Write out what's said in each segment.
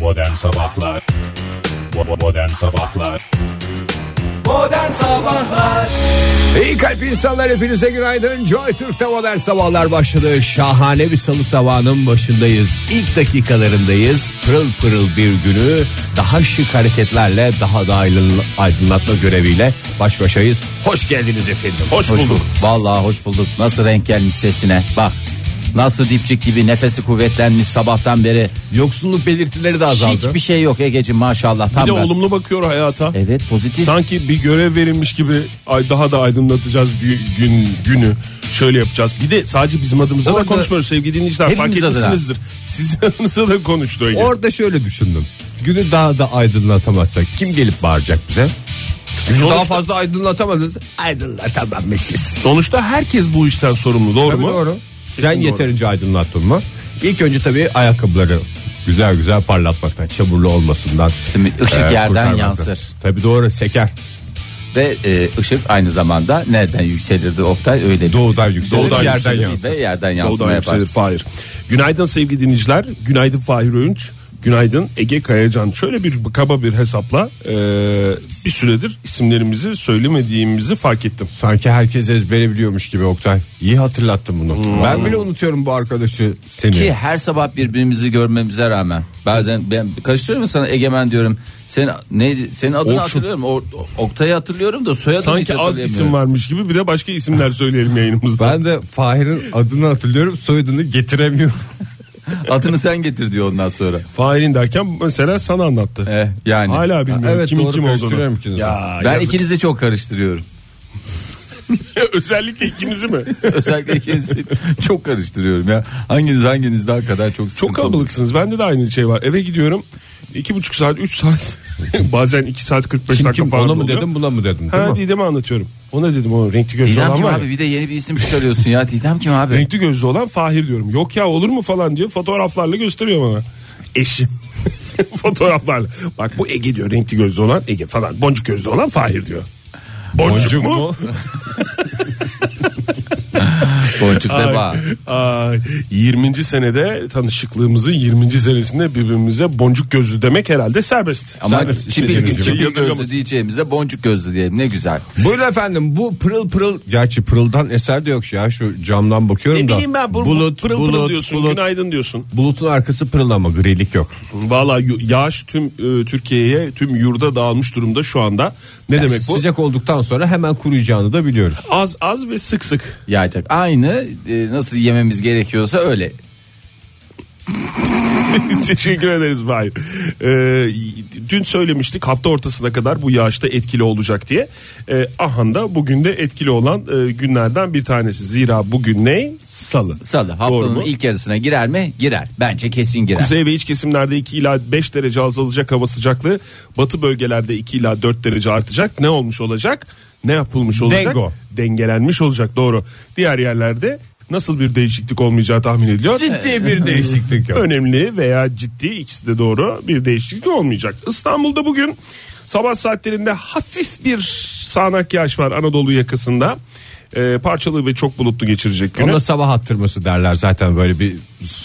Modern Sabahlar Bo- Modern Sabahlar Modern Sabahlar İyi kalp insanlar hepinize günaydın. Joy Türk'te modern sabahlar başladı. Şahane bir salı sabahının başındayız. İlk dakikalarındayız. Pırıl pırıl bir günü daha şık hareketlerle daha da aydın- aydınlatma göreviyle baş başayız. Hoş geldiniz efendim. Hoş, Vallahi hoş bulduk. Nasıl renk gelmiş sesine. Bak. Nasıl dipçik gibi nefesi kuvvetlenmiş sabahtan beri. Yoksulluk belirtileri de azaldı. Hiçbir şey yok Egeciğim maşallah. Tam Bir de gaz. olumlu bakıyor hayata. Evet pozitif. Sanki bir görev verilmiş gibi ay daha da aydınlatacağız gü- gün günü. Şöyle yapacağız. Bir de sadece bizim adımıza Orada- da konuşmuyoruz sevgili dinleyiciler. Fark Hepimiz adına. etmişsinizdir. Sizin adınıza da konuştu Ege. Orada şöyle düşündüm. Günü daha da aydınlatamazsak kim gelip bağıracak bize? Günü daha Sonuçta- fazla aydınlatamadınız. Aydınlatamamışız. Sonuçta herkes bu işten sorumlu doğru Tabii mu? Doğru. Kesin Sen doğru. yeterince aydınlattın mı? İlk önce tabii ayakkabıları güzel güzel parlatmaktan, çamurlu olmasından. e, Şimdi ışık yerden kurtarmaktan. yansır. Tabii doğru seker. Ve e, ışık aynı zamanda nereden yükselirdi Oktay öyle bir. Doğudan yükselir, Doğudan yerden yükselir. yansır. Ve yerden yansıma Soldan yapar. yükselir Fahir. Günaydın sevgili dinleyiciler. Günaydın Fahir Öğünç. Günaydın Ege Kayacan. Şöyle bir kaba bir hesapla e, bir süredir isimlerimizi söylemediğimizi fark ettim. Sanki herkes ezbere biliyormuş gibi Oktay. İyi hatırlattın bunu. Ben bile unutuyorum bu arkadaşı seni. Ki her sabah birbirimizi görmemize rağmen bazen ben karıştırıyorum sana Egemen diyorum. Sen neydi? Senin adını Orçun. hatırlıyorum. Or, Oktay'ı hatırlıyorum da soyadını hiç Sanki az hatırlayamıyorum. isim varmış gibi bir de başka isimler söyleyelim yayınımızda. Ben de Fahir'in adını hatırlıyorum soyadını getiremiyorum. Adını sen getir diyor ondan sonra. Fahir'in derken mesela sana anlattı. Eh, yani. Hala bilmiyorum evet kimin doğru kim karıştırıyorum olduğunu. ikinizi. ben ikinizi çok karıştırıyorum. Özellikle ikimizi mi? Özellikle ikinizi çok karıştırıyorum ya. Hanginiz hanginiz daha kadar çok sıkıntı Çok olur. kalabalıksınız. Bende de aynı şey var. Eve gidiyorum. iki buçuk saat, üç saat. bazen iki saat 45 Kim dakika kim falan ona mı oluyor. dedim buna mı dedim değil Ha mi? Didem'e anlatıyorum. Ona dedim o renkli gözlü Didem olan kim var abi ya. bir de yeni bir isim çıkarıyorsun ya. Didem kim abi? Renkli gözlü olan Fahir diyorum. Yok ya olur mu falan diyor. Fotoğraflarla gösteriyor bana. Eşim. Fotoğraflarla. Bak bu Ege diyor renkli gözlü olan Ege falan. Boncuk gözlü olan Fahir diyor. Boncuk, mu? Boncuk Ay, Deba. ay. 20. senede tanışıklığımızın 20. senesinde birbirimize boncuk gözlü demek herhalde serbest. Ama Serbest çipil, istediğiniz çipil gibi. gözlü diyeceğimize boncuk gözlü diyelim ne güzel. Buyurun efendim bu pırıl pırıl gerçi pırıldan eser de yok ya şu camdan bakıyorum Ne da. bileyim ben bu, bulut, pırıl bulut, pırıl diyorsun, bulut. günaydın diyorsun. Bulutun arkası pırıl ama grilik yok. Valla yağış tüm e, Türkiye'ye, tüm yurda dağılmış durumda şu anda. Ne demek bu? Sıcak olduktan sonra hemen kuruyacağını da biliyoruz. Az az ve sık sık. Yağacak. Aynı e, nasıl yememiz gerekiyorsa öyle. Teşekkür ederiz Fahir. E, dün söylemiştik hafta ortasına kadar bu yağışta etkili olacak diye. E, aha da bugün de etkili olan e, günlerden bir tanesi. Zira bugün ne? Salı. Salı Doğru haftanın mu? ilk yarısına girer mi? Girer. Bence kesin girer. Kuzey ve iç kesimlerde 2 ila 5 derece azalacak hava sıcaklığı. Batı bölgelerde 2 ila 4 derece artacak. Ne olmuş olacak? Ne yapılmış olacak? Dengo. Dengelenmiş olacak doğru. Diğer yerlerde nasıl bir değişiklik olmayacağı tahmin ediliyor. Ciddi bir değişiklik yok. Önemli veya ciddi ikisi de doğru bir değişiklik olmayacak. İstanbul'da bugün sabah saatlerinde hafif bir sağanak yağış var Anadolu yakasında. Ee, parçalı ve çok bulutlu geçirecek günü. Ona sabah attırması derler zaten böyle bir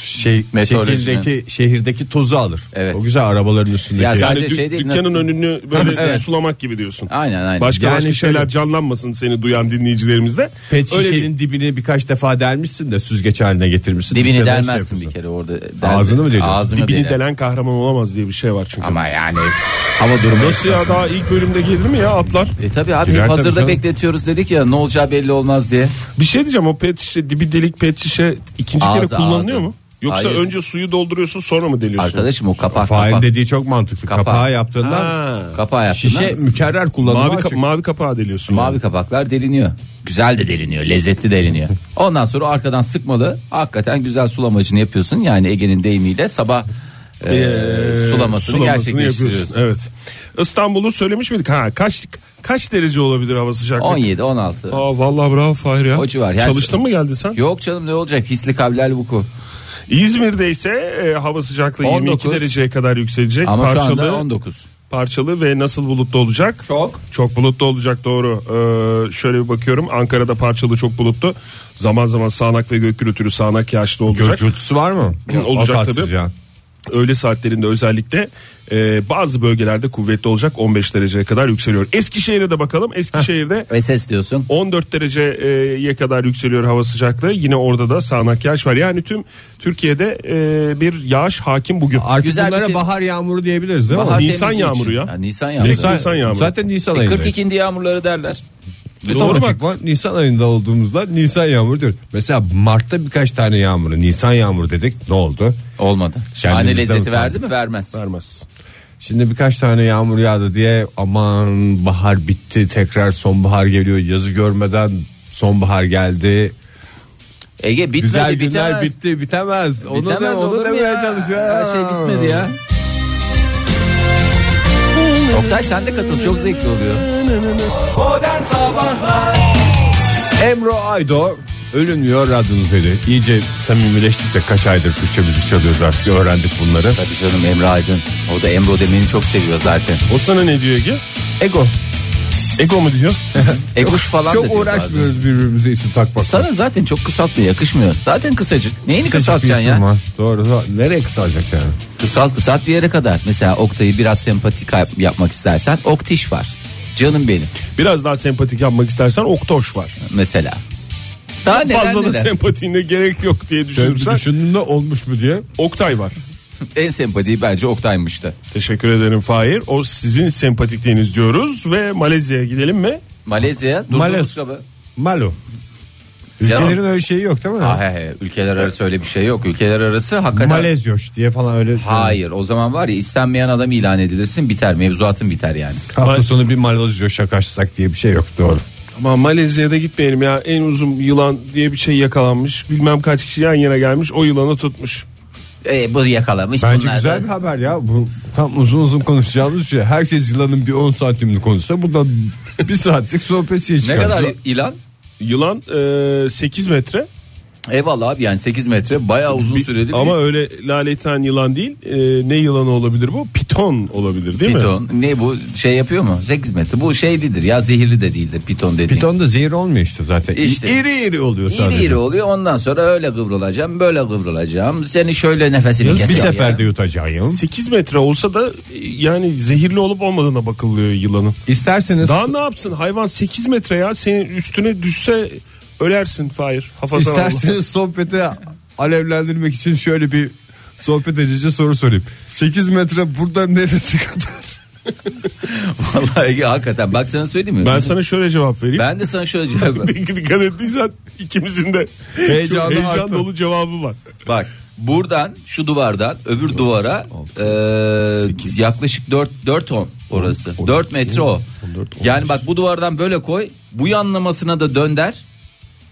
şey Meteorolojinin. şekildeki şehirdeki tozu alır. Evet. O güzel arabaların üstündeki. Ya Yani sadece dük- şey değil, Hani dükkanın na- önünü böyle Evet. sulamak gibi diyorsun. Aynen, aynen. şey Başka Yani başka şeyler şöyle- canlanmasın seni duyan dinleyicilerimizde. Pet Öyle şişenin dibini birkaç defa delmişsin de süzgeç haline getirmişsin. Dibini Bir kere şey delmezsin bir yapıyorsun. kere orada. Deldi. Ağzını mı deliyorsun? Ağzını dibini deler. delen kahraman olamaz diye bir şey var çünkü. Ama yani hava durumu. Nasıl ya daha ilk bölümde gelir mi ya atlar? E tabi abi Girer hep tabii hazırda canım. bekletiyoruz dedik ya ne olacağı belli olmaz diye. Bir şey diyeceğim o pet şişe dibi delik pet şişe ikinci Ağzı, kere kullanılıyor ağzı. mu? Yoksa Hayır. önce suyu dolduruyorsun sonra mı deliyorsun? Arkadaşım o kapak Fail kapak. dediği çok mantıklı. Kapağı. Kapağı yaptığından Ha. Kapağı yaptın şişe ha? mükerrer kullanıma Mavi, açık. ka- mavi kapağı deliyorsun. Mavi kapaklar deliniyor. Güzel de deliniyor, lezzetli deliniyor. Ondan sonra arkadan sıkmalı. Hakikaten güzel sulamacını yapıyorsun. Yani Ege'nin deyimiyle sabah e, sulamasını, Ee, sulamasını yapıyorsun. gerçekleştiriyorsun. Evet. İstanbul'u söylemiş miydik? Ha kaç kaç derece olabilir hava sıcaklığı? 17 16. Aa vallahi bravo Fahir ya. O civar. Yani- Çalıştın mı geldin sen? Yok canım ne olacak? Hisli kablel vuku. İzmir'de ise e, hava sıcaklığı 22 19. dereceye kadar yükselecek. Ama parçalı, şu anda 19. parçalı ve nasıl bulutlu olacak? Çok. Çok bulutlu olacak doğru. Ee, şöyle bir bakıyorum. Ankara'da parçalı çok bulutlu. Zaman zaman sağanak ve gök gürültülü sağanak yağışlı olacak. Gök gürültüsü var mı? Olacak Vakatsız tabii. ya. öğle saatlerinde özellikle e, bazı bölgelerde kuvvetli olacak 15 dereceye kadar yükseliyor. Eskişehir'e de bakalım. Eskişehir'de ses diyorsun. 14 dereceye kadar yükseliyor hava sıcaklığı. Yine orada da sağanak yağış var. Yani tüm Türkiye'de e, bir yağış hakim bugün. Artık Güzel bunlara bir- bahar yağmuru diyebiliriz değil Bahar mi? Nisan temizliği yağmuru için. ya. Nisan yağmuru. Nisan- yağmuru. Zaten Nisan E, ayı. 42. yağmurları derler. E, Doğru Doğru bak. bak. Nisan ayında olduğumuzda Nisan yağmuru diyor. Mesela Mart'ta birkaç tane yağmuru Nisan yağmuru dedik ne oldu? Olmadı. Şenliğimizde Şahane lezzeti mi verdi mi? Vermez. Vermez. Şimdi birkaç tane yağmur yağdı diye aman bahar bitti tekrar sonbahar geliyor yazı görmeden sonbahar geldi. Ege bitmedi Güzel günler bitemez. bitti bitemez. Onu Bitemez da olur mu onu da ya? çalışıyor. Her şey bitmedi ya. Oktay sen de katıl çok zevkli oluyor. Modern Sabahlar Emro Aydo ölünmüyor radyonuz öyle. İyice samimileştik de kaç aydır Türkçe müzik çalıyoruz artık öğrendik bunları. Tabii canım Emre Aydın. O da Emre demeni çok seviyor zaten. O sana ne diyor Ege? Ego. Ego mu diyor? Egoş E falan da Çok diyor bazen. uğraşmıyoruz birbirimize isim takmakla. Sana zaten çok kısaltmıyor yakışmıyor. Zaten kısacık. Neyini Bir kısaltacaksın isim ya? var. Doğru, doğru. Nereye kısalacak yani? Kısalt kısalt bir yere kadar. Mesela Oktay'ı biraz sempatik yap- yapmak istersen Oktiş var. Canım benim Biraz daha sempatik yapmak istersen oktoş var. mesela. Daha neler Fazla da neler. sempatiğine gerek yok diye Şöyle düşünürsen bir düşündüm de olmuş mu diye. Oktay var. en sempatiği bence Oktay'mıştı. Teşekkür ederim Fahir. O sizin sempatikliğiniz diyoruz ve Malezya'ya gidelim mi? Malezya durdurmuş Malez- kabı. Malo. Canım. Ülkelerin öyle şeyi yok değil mi? Ha, he, he. Ülkeler arası öyle bir şey yok. Ülkeler arası hakikaten... Malezyoş diye falan öyle. Hayır o zaman var ya istenmeyen adam ilan edilirsin biter mevzuatın biter yani. Hafta sonu bir Malezyoş'a kaçsak diye bir şey yok doğru. Ama Malezya'da gitmeyelim ya. En uzun yılan diye bir şey yakalanmış. Bilmem kaç kişi yan yana gelmiş. O yılanı tutmuş. E, bu yakalamış Bence bunlar da- güzel bir haber ya. Bu tam uzun uzun konuşacağımız şey. Herkes yılanın bir 10 santimini konuşsa buradan bir saatlik sohbet şey Ne çıkar. kadar ilan? Yılan e, 8 metre. Eyvallah abi yani 8 metre bayağı uzun süreli bir Ama öyle laleten yılan değil. E, ne yılanı olabilir bu? Piton olabilir değil mi? piton. Ne bu şey yapıyor mu? 8 metre bu şeylidir ya zehirli de değildir piton dediğin. Piton da zehir olmuyor işte zaten. İşte. İri iri oluyor İri sadece. iri oluyor ondan sonra öyle kıvrılacağım böyle kıvrılacağım seni şöyle nefesini Bir keseceğim. seferde yutacağım. 8 metre olsa da e, yani zehirli olup olmadığına bakılıyor yılanın. İsterseniz Daha ne yapsın hayvan 8 metre ya senin üstüne düşse ölersin Fahir. Hafazan Allah. İsterseniz sohbeti alevlendirmek için şöyle bir sohbet edici soru sorayım. 8 metre buradan neresi kadar? Vallahi Ege, hakikaten bak sana söyleyeyim mi? Ben sana şöyle cevap vereyim. Ben de sana şöyle cevap vereyim. Dikkat ettiysen ikimizin de Heyecanı çok heyecan arttı. dolu cevabı var. Bak buradan şu duvardan öbür duvara eee, yaklaşık 4 4 on orası. 4 metre o. yani bak bu duvardan böyle koy. Bu yanlamasına da dönder.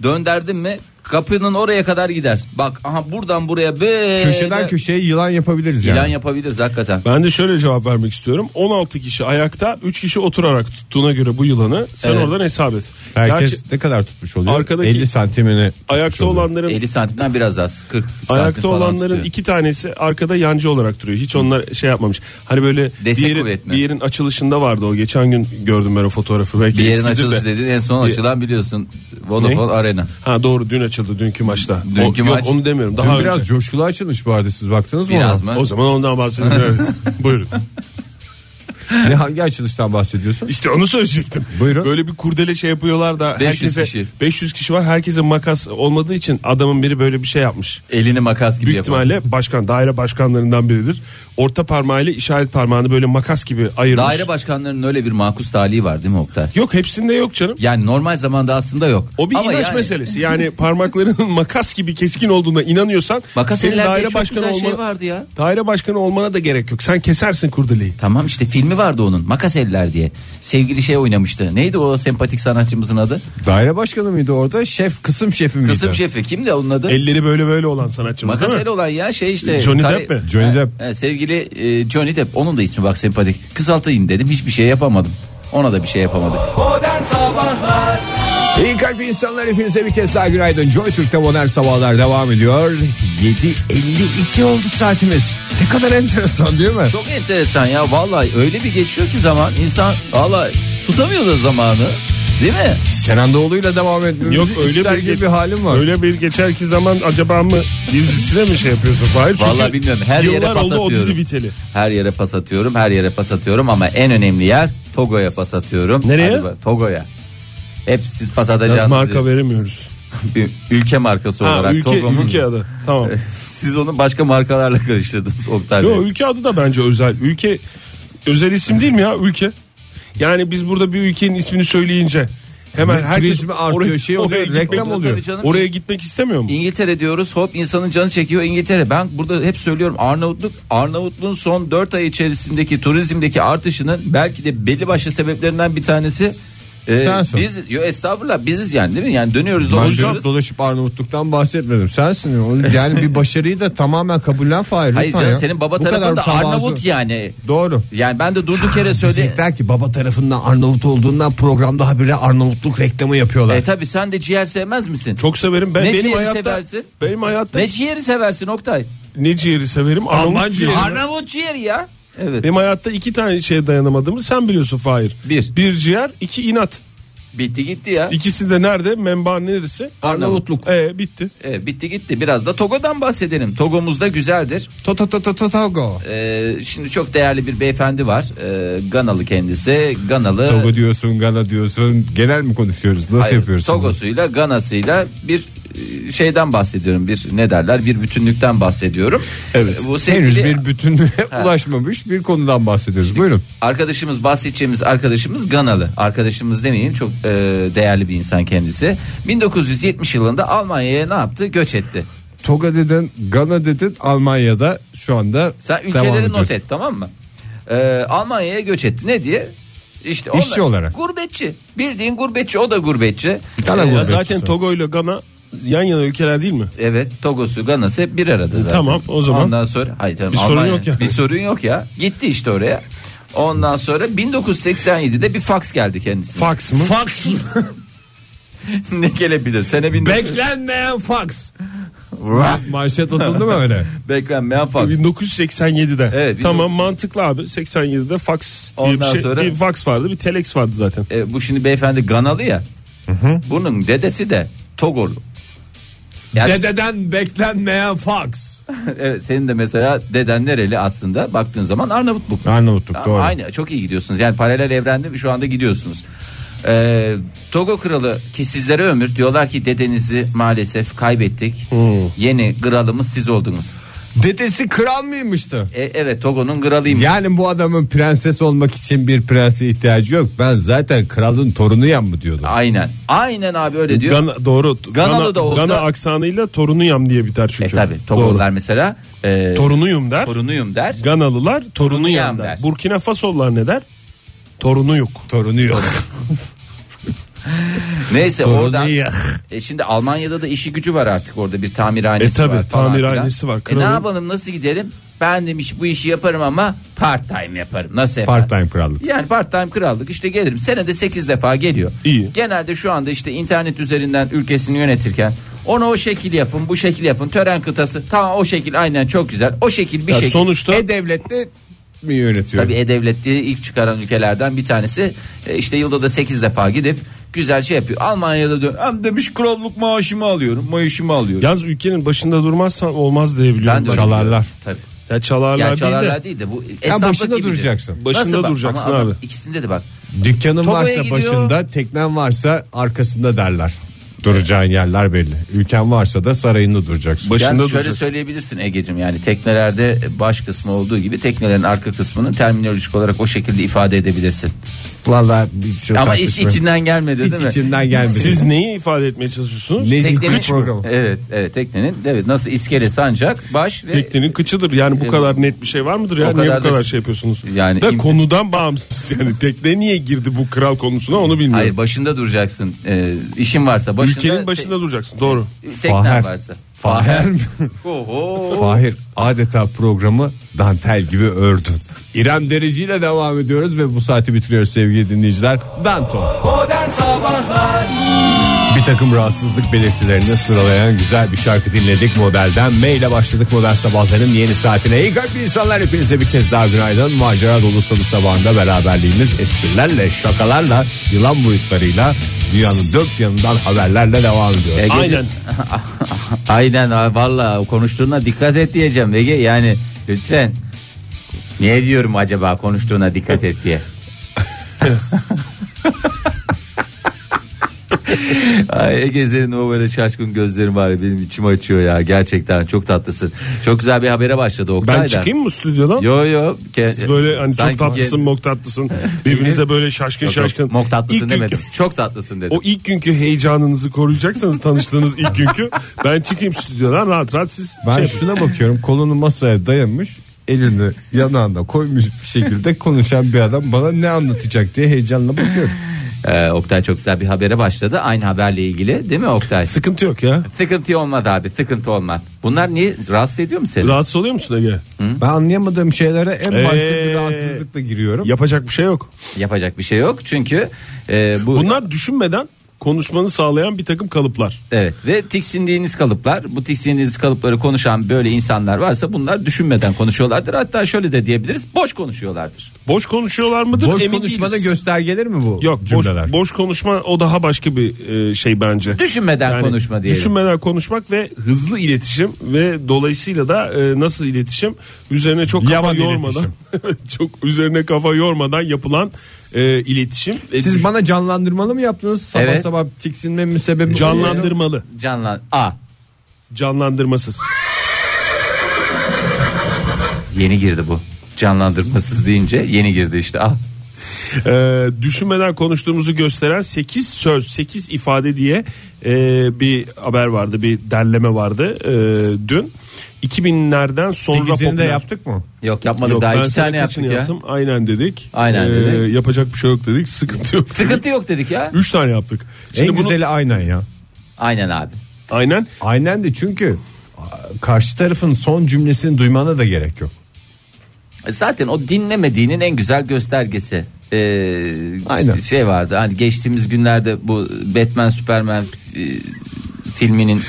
Dönderdin mi? Kapının oraya kadar gider. Bak aha buradan buraya böyle Köşeden köşeye yılan yapabiliriz plan yani. yapabiliriz hakikaten. Ben de şöyle cevap vermek istiyorum. 16 kişi ayakta, 3 kişi oturarak tuttuğuna göre bu yılanı sen Evet. oradan hesap et. Herkes Gerçi ne kadar tutmuş oluyor? Arkadaki- 50 santimini tutmuş ayakta oluyor. olanların 50 santimden biraz az. 40 santim ayakta falan olanların tutuyor. iki tanesi arkada yancı olarak duruyor. Hiç onlar şey yapmamış. Hani böyle Destek bir yerin, kuvvetine. bir yerin açılışında vardı o. Geçen gün gördüm ben o fotoğrafı. Belki bir yerin eskidir de. açılışı dediğin en son açılan biliyorsun Vodafone Arena. Ha doğru dün açıldı dünkü maçta. Dünkü O- yok, maç- onu demiyorum. Dün Daha biraz önce. coşkulu açılmış bu arada siz baktınız mı? Biraz ona? mı? O zaman ondan bahsedelim. evet. Buyurun. Ne hangi açılıştan bahsediyorsun? İşte onu söyleyecektim. Buyurun. Böyle bir kurdele şey yapıyorlar da 500 herkese kişi. 500 kişi var. Herkese makas olmadığı için adamın biri böyle bir şey yapmış. Elini makas gibi Büyük yapalım. ihtimalle başkan daire başkanlarından biridir. Orta parmağıyla işaret parmağını böyle makas gibi ayırmış. Daire başkanlarının öyle bir makus talihi var değil mi Oktay? Yok hepsinde yok canım. Yani normal zamanda aslında yok. O bir Ama inanç yani- meselesi. Yani parmaklarının makas gibi keskin olduğuna inanıyorsan Makas senin ellerde daire çok başkanı güzel şey olma- vardı ya. Daire başkanı olmana da gerek yok. Sen kesersin kurdeleyi. Tamam işte filmi vardı onun Makas Eller diye. Sevgili şey oynamıştı. Neydi o sempatik sanatçımızın adı? Daire başkanı mıydı orada? Şef, kısım şefi miydi? Kısım şefi kimdi onun adı? Elleri böyle böyle olan sanatçımız Makas değil mi? El olan ya şey işte. Johnny Depp mi? Johnny Ha, Depp. ha, sevgili e, Johnny Depp onun da ismi bak sempatik. Kısaltayım dedim hiçbir şey yapamadım. Ona da bir şey yapamadık. Modern Sabahlar İyi kalp insanlar hepinize bir kez daha günaydın. Joy Türk'te modern sabahlar devam ediyor. 7.52 oldu saatimiz. Ne kadar enteresan değil mi? Çok enteresan ya vallahi öyle bir geçiyor ki zaman insan vallahi tutamıyor da zamanı. Değil mi? Kenan Doğulu'yla devam etmemizi Yok öyle ister bir, gibi ge- bir halim var. Öyle bir geçerki zaman acaba mı dizisine mi şey yapıyorsun Fahir? Çünkü Vallahi bilmiyorum. Her yere yıllar pas oldu o atıyorum. dizi biteli. Her yere pas atıyorum, her yere pas atıyorum ama en önemli yer Togo'ya pas atıyorum. Nereye? Hadi bak, Togo'ya. Hep siz pas Biraz atacaksınız. marka veremiyoruz. Bir ülke markası Ha, olarak ülke, Togo'muz. ülke adı. Tamam. Siz onu başka markalarla karıştırdınız Oktay Bey. Yo ülke adı da bence özel. Ülke özel isim değil mi ya ülke? Yani biz burada bir ülkenin ismini söyleyince hemen Ve herkes turizmi artıyor, şey oluyor, gitmek- reklam oluyor. Tabii canım. Oraya gitmek istemiyor mu? İngiltere diyoruz hop insanın canı çekiyor İngiltere. Ben burada hep söylüyorum Arnavutluk Arnavutluğun son 4 ay içerisindeki turizmdeki artışının belki de belli başlı sebeplerinden bir tanesi e, Sensin. biz yo estağfurullah biziz yani değil mi? Yani Ben dönüyoruz dolaşıyoruz. dönüp dolaşıp Arnavutluk'tan bahsetmedim. Sensin. Onu- Yani bir başarıyı da tamamen kabullen Fahir. Hayır lütfen canım ya. senin baba Bu kadar tarafında tevazu. Arnavut yani. Doğru. Yani ben de durduk yere söyle. Diyecekler ki baba tarafından Arnavut olduğundan programda habire Arnavutluk reklamı yapıyorlar. E tabi sen de ciğer sevmez misin? Çok severim ben Ne benim ciğeri hayatta. seversin? Benim hayatta Ne ciğeri seversin Oktay? ne ciğeri severim? Alman Alman ciğeri. ciğeri. Arnavut ciğeri ya. Evet. Benim hayatta iki tane şeye dayanamadığımı sen biliyorsun Fahir. Bir. Bir ciğer, iki inat. Bitti gitti ya. İkisi de nerede? Menba neresi? Arnavutluk. Ee, bitti. E, bitti gitti. Biraz da Togo'dan bahsedelim. Togomuz da güzeldir. Tota tota tota togo. Ee, şimdi çok değerli bir beyefendi var. Ee, Ganalı kendisi. Ganalı Togo diyorsun, Gana diyorsun. Genel mi konuşuyoruz? Nasıl Hayır, yapıyoruz? şimdi? Togo'suyla, Gana'sıyla bir e, şeyden bahsediyorum. Bir ne derler? Bir bütünlükten bahsediyorum. Evet. Ee, Bu Henüz sevgili bir bütünlüğe ulaşmamış bir konudan bahsediyoruz. Buyurun. arkadaşımız bahsedeceğimiz arkadaşımız Ganalı. Arkadaşımız demeyeyim çok e, değerli bir insan kendisi. 1970 yılında Almanya'ya ne yaptı? Göç etti. Toga dedin, Gana dedin, Almanya'da şu anda Sen devam ülkeleri not ediyorsun. et tamam mı? Ee, Almanya'ya göç etti. Ne diye? İşte İşçi olarak. Gurbetçi. Bildiğin gurbetçi o da gurbetçi. Gana Ya gurbetçisi. Ee, zaten Togo ile Gana yan yana ülkeler değil mi? Evet Togo'su Gana'sı hep bir arada zaten. tamam, o zaman. Ondan sonra hayır, tamam, Bir sorun yok yani. Bir sorun yok ya. Gitti işte oraya. Ondan sonra 1987'de bir fax geldi kendisine. Fax mı? Fax. ne gelebilir? Sene 1900 Beklenmeyen fax. Manşet atıldı mı öyle? Beklenmeyen fax. 1987'den. Evet, tamam mantıklı abi. 87'de fax diye Ondan bir şey. sonra- Bir fax vardı, bir telex vardı zaten. E, bu şimdi beyefendi Ganalı ya. Bunun dedesi de Togolu. Yani- Dededen beklenmeyen fax. Evet, senin de mesela deden nereli aslında baktığın zaman Arnavutluk. Arnavutluk Ama doğru. Aynı çok iyi gidiyorsunuz. Yani paralel evrende şu anda gidiyorsunuz. Ee, Togo kralı ki sizlere ömür diyorlar ki dedenizi maalesef kaybettik. Yeni kralımız siz oldunuz. Dedesi kral mıymıştı? E, evet Togo'nun kralıyım. Yani bu adamın prenses olmak için bir prense ihtiyacı yok. Ben zaten kralın torunuyam mı diyordu. Aynen. Aynen abi E, öyle diyor. Gana, doğru. Ganalı Gana, da olsa- Gana aksanıyla torunuyam diye biter e çünkü. tabi Doğru. Togo'lular mesela e, Torunuyum der. torunuyum der. Ganalılar torunuyam Torunuyam der. der. Burkina Faso'lular ne der? Torunu yok. Torunu yok. Neyse Torunu oradan ya. e, şimdi Almanya'da da işi gücü var artık orada bir tamirhanesi E tabii, var. falan tamirhanesi filan. var, E, ne kralın- yapalım nasıl gidelim? Ben demiş bu işi yaparım ama part time yaparım. Nasıl yaparım? Part time krallık. Yani part time krallık işte gelirim. Senede 8 defa geliyor. İyi. Genelde şu anda işte internet üzerinden ülkesini yönetirken ona o şekil yapın bu şekil yapın tören kıtası tamam o şekil aynen çok güzel o şekil bir E- Ya şekil. sonuçta E-Devlet'te mi yönetiyor? Tabii E-Devlet diye ilk çıkaran ülkelerden bir tanesi E, işte yılda da 8 defa gidip güzel şey yapıyor. Almanya'da dön hem demiş krallık maaşımı alıyorum maaşımı alıyorum. yalnız ülkenin başında durmazsan olmaz diye biliyorum. Çalar- öyle çalarlar. biliyorum. Tabii. Ya çalarlar, Yani değil çalarlar de. değil de bu Ya esnaflık başında gibidir. duracaksın. Başında bak? duracaksın Ama adam- abi. İkisinde de bak. Dükkanın Togo'ya varsa gidiyor. başında, teknen varsa arkasında derler. Duracağın yerler belli. Ülken varsa da sarayında duracaksın. Baş- Yani Başında şöyle duracağız. söyleyebilirsin Ege'cim yani teknelerde baş kısmı olduğu gibi teknelerin arka kısmının terminolojik olarak o şekilde ifade edebilirsin. Vallahi bir şey Ama iş tartışma- içinden gelmedi Hiç değil mi? içimden gelmedi. Siz neyi ifade etmeye çalışıyorsunuz? Lezzetli Teknenin- programı. Evet, evet teknenin evet nasıl iskelesi ancak baş ve Teknenin kıçıdır. Yani bu kadar net bir şey var mıdır ya? E, O Niye bu kadar kadar da- şey yapıyorsunuz? Yani da im- konudan bağımsız yani. Tekne niye girdi bu kral konusuna onu bilmiyorum. hayır başında duracaksın. Ee, işin varsa başında Ülkenin başında duracaksın. Doğru. te- teknen Faher. varsa. Fahir mi? Oho. Fahir adeta programı dantel gibi ördün. İrem Derici ile devam ediyoruz ve bu saati bitiriyoruz sevgili dinleyiciler. Danton. Modern Sabahlar bir takım rahatsızlık belirtilerini sıralayan güzel bir şarkı dinledik modelden. Maile başladık model sabahların yeni saatine. İyi kalp insanlar hepinize bir kez daha günaydın. Macera dolu salı sabahında beraberliğimiz esprilerle, şakalarla, yılan boyutlarıyla dünyanın dört yanından haberlerle devam ediyor. Ege- Aynen. Aynen abi, valla konuştuğuna dikkat et diyeceğim Ege yani lütfen. Niye diyorum acaba konuştuğuna dikkat et diye. Ay Ege senin o böyle şaşkın gözlerin var ya, benim içim açıyor ya gerçekten çok tatlısın. Çok güzel bir habere başladı Oktay Ben da. çıkayım mı stüdyodan? Yo yo. Ke- Siz böyle hani Sanki- çok tatlısın mok tatlısın. Birbirinize böyle şaşkın Yok, yok, şaşkın. Mok tatlısın İlk günkü- demedim. Çok tatlısın dedim. O ilk günkü heyecanınızı koruyacaksanız tanıştığınız ilk günkü ben çıkayım stüdyodan rahat rahat siz Ben şey şuna bakıyorum kolunu masaya dayanmış elini yanağına koymuş bir şekilde konuşan bir adam bana ne anlatacak diye heyecanla bakıyorum. Ee, Oktay çok güzel bir habere başladı. Aynı haberle ilgili değil mi Oktay? Sıkıntı yok ya. Sıkıntı olmadı abi sıkıntı olmaz. Bunlar niye rahatsız ediyor mu seni? Rahatsız oluyor musun Ege? Ben anlayamadığım şeylere en başta Ee, bir rahatsızlıkla giriyorum. Yapacak bir şey yok. Yapacak bir şey yok çünkü e, bu Bunlar düşünmeden konuşmanı sağlayan bir takım kalıplar. evet ve tiksindiğiniz kalıplar bu tiksindiğiniz kalıpları konuşan böyle insanlar varsa bunlar düşünmeden konuşuyorlardır. Hatta şöyle de diyebiliriz boş konuşuyorlardır. Boş konuşuyorlar mıdır? Boş Emin konuşmada değiliz. göstergeler mi bu Yok boş, cümleler? boş konuşma o daha başka bir e, şey bence. Düşünmeden konuşma diyelim. Düşünmeden konuşmak ve hızlı iletişim ve dolayısıyla da e, nasıl iletişim üzerine çok kafa Yavan yormadan çok üzerine kafa yormadan yapılan e, iletişim. E, Siz düş- bana canlandırmalı mı yaptınız? Sabah Evet. sabah tiksinmemin sebebi bu. canlandırmalı, Canlan A canlandırmasız. yeni girdi bu canlandırmasız deyince yeni girdi işte A. E, düşünmeden konuştuğumuzu gösteren 8 söz, 8 ifade diye e, bir haber vardı, bir derleme vardı e, dün. 2000'lerden sonra Sekizini de popüler- yaptık mı? Yok yapmadık Yok, daha ben iki sana tane kaçını yaptık ya. yaptım. Aynen dedik. Ee, Aynen dedik. Yapacak bir şey yok dedik. Sıkıntı yok. Sıkıntı yok dedik ya. Üç tane yaptık. Şimdi en bunu- güzeli aynen ya. Aynen abi. Aynen. Aynen de çünkü a, karşı tarafın son cümlesini duymana da gerek yok. Zaten o dinlemediğinin en güzel göstergesi. Ee, Aynen. Şey vardı hani geçtiğimiz günlerde bu Batman Superman e, filminin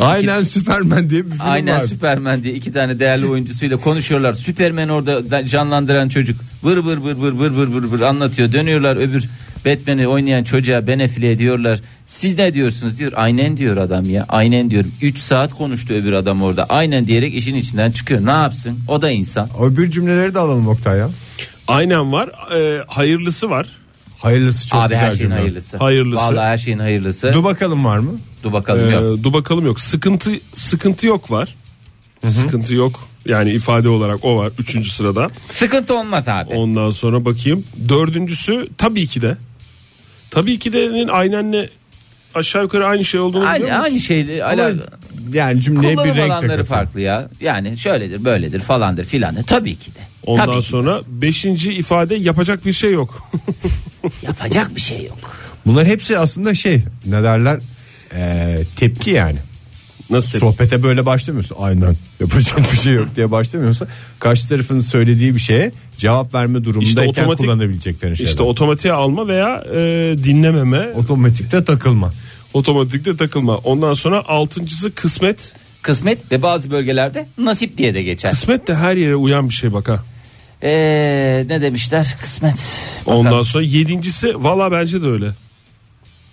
Aynen Süpermen diye bir film Aynen var. Superman diye iki tane değerli oyuncusuyla konuşuyorlar. Superman orada da- canlandıran çocuk vır vır vır vır vır vır vır vır anlatıyor. Dönüyorlar öbür Batman'i oynayan çocuğa Ben Affleck'e diyorlar. Siz ne diyorsunuz diyor. Aynen diyor adam ya. Aynen diyorum. 3 saat konuştu öbür adam orada. Aynen diyerek işin içinden çıkıyor. Ne yapsın? O da insan. Öbür cümleleri de alalım Oktay ya. Aynen var. Ee, hayırlısı var. Hayırlısı çok Abi güzel her şeyin cümle. hayırlısı. Hayırlısı. Vallahi her şeyin hayırlısı. Dur bakalım var mı? Dur Ee, bakalım yok. dur bakalım yok. Sıkıntı sıkıntı yok var. Sıkıntı yok. Yani ifade olarak o var. Üçüncü sırada. Ee, Sıkıntı olmaz abi. Ondan sonra bakayım. Dördüncüsü tabii ki de. Tabii ki de'nin aynenle aşağı yukarı aynı şey olduğunu biliyor Aynı, musun? aynı şeyle Ama ala yani cümleye bir kullanım renk alanları takıldı. farklı ya. Yani şöyledir böyledir falandır filandır. Tabii ki de. Ondan Tabii ki sonra beşinci ifade yapacak bir şey yok. yapacak bir şey yok. Bunlar hepsi aslında şey ne derler Ee, tepki yani. Nasıl? Sohbete böyle başlamıyorsun. Aynen yapacak bir şey yok diye başlamıyorsa karşı tarafın söylediği bir şeye cevap verme durumundayken İşte otomatik- kullanabileceklerin şeyler. İşte otomatiğe alma veya e, dinlememe. otomatikte takılma. Otomatikte takılma. Ondan sonra altıncısı kısmet. Kısmet ve bazı bölgelerde nasip diye de geçer. Kısmet de her yere uyan bir şey bak ha. Ee, ne demişler? Kısmet. Bakalım. Ondan sonra yedincisi valla bence de öyle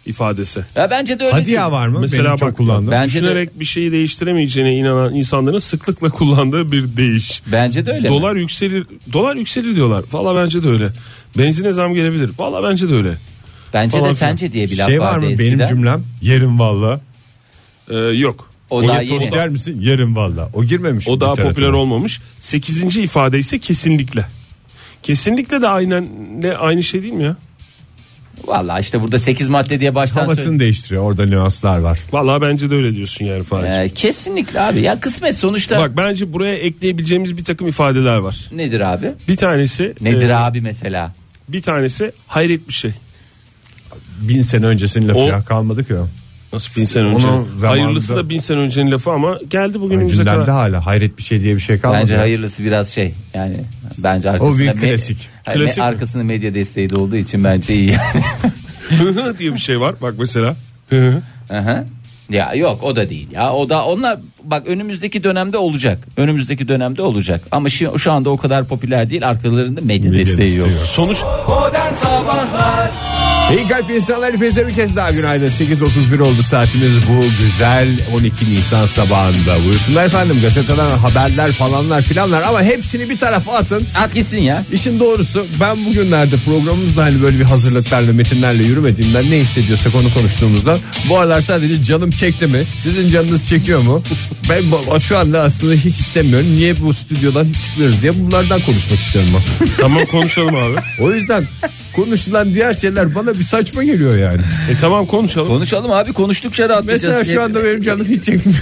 ifadesi. Ya bence de öyle. Hadi değil. ya var mı? Mesela Benim bak- çok kullandım. Ben- Bence de- Düşünerek bir şeyi değiştiremeyeceğine inanan insanların sıklıkla kullandığı bir deyiş. Bence de öyle. mi? dolar yükselir, dolar yükselir diyorlar. Valla bence de öyle. Benzine zam gelebilir. Valla bence de öyle. Bence falan de filan. sence diye bir laf şey var vardı mı eskiden. benim cümlem yerim valla. Ee, yok. O O daha yetoz yeni. yer misin? Yerim valla. O girmemiş. O daha literatüre. popüler olmamış. Sekizinci ifade ise kesinlikle. Kesinlikle de aynen ne aynı şey değil mi ya? Vallahi işte burada 8 madde diye baştan Havasını değiştiriyor. Orada nüanslar var. Valla bence de öyle diyorsun yani Fahir. söyle- Ee, kesinlikle abi. Ya kısmet sonuçta Bak bence buraya ekleyebileceğimiz bir takım ifadeler var. nedir abi? Ee, Bir tanesi Nedir e, abi mesela? Bir tanesi hayret bir şey. Bin sene öncesinin lafı O- ya kalmadı ki. o. Nasıl bin sene Onu önce? zamanında- Hayırlısı da bin sene öncenin lafı ama geldi bugünümüze Gündemde kadar. hala hayret bir şey diye bir şey kalmadı. Bence ya. hayırlısı biraz şey yani bence arkasında bir me- klasik. Hani Klasik mi? arkasında medya desteği de olduğu için bence iyi. diye bir şey var. Bak mesela Hı hı. Ya yok o da değil ya o da onlar bak önümüzdeki dönemde olacak önümüzdeki dönemde olacak ama şu, şu anda o kadar popüler değil arkalarında medya, desteği yok. Sonuç Modern Sabahlar İyi kalp insanlar hepinize bir kez daha günaydın. 8.31 oldu saatimiz bu güzel 12 Nisan sabahında. Buyursunlar efendim gazeteden haberler falanlar filanlar ama hepsini bir tarafa atın. At gitsin ya. İşin doğrusu ben bugünlerde programımızda hani böyle bir hazırlıklarla metinlerle yürümediğimden ne hissediyorsak onu konuştuğumuzdan bu aralar sadece canım çekti mi? Sizin canınız çekiyor mu? Ben bu- şu anda aslında hiç istemiyorum. Niye bu stüdyodan hiç çıkmıyoruz diye bunlardan konuşmak istiyorum ben. tamam konuşalım abi. O yüzden konuşulan diğer şeyler bana bir saçma geliyor yani. E tamam konuşalım. Konuşalım abi konuştukça rahatlayacağız. Mesela şu anda benim canım hiç çekmiyor.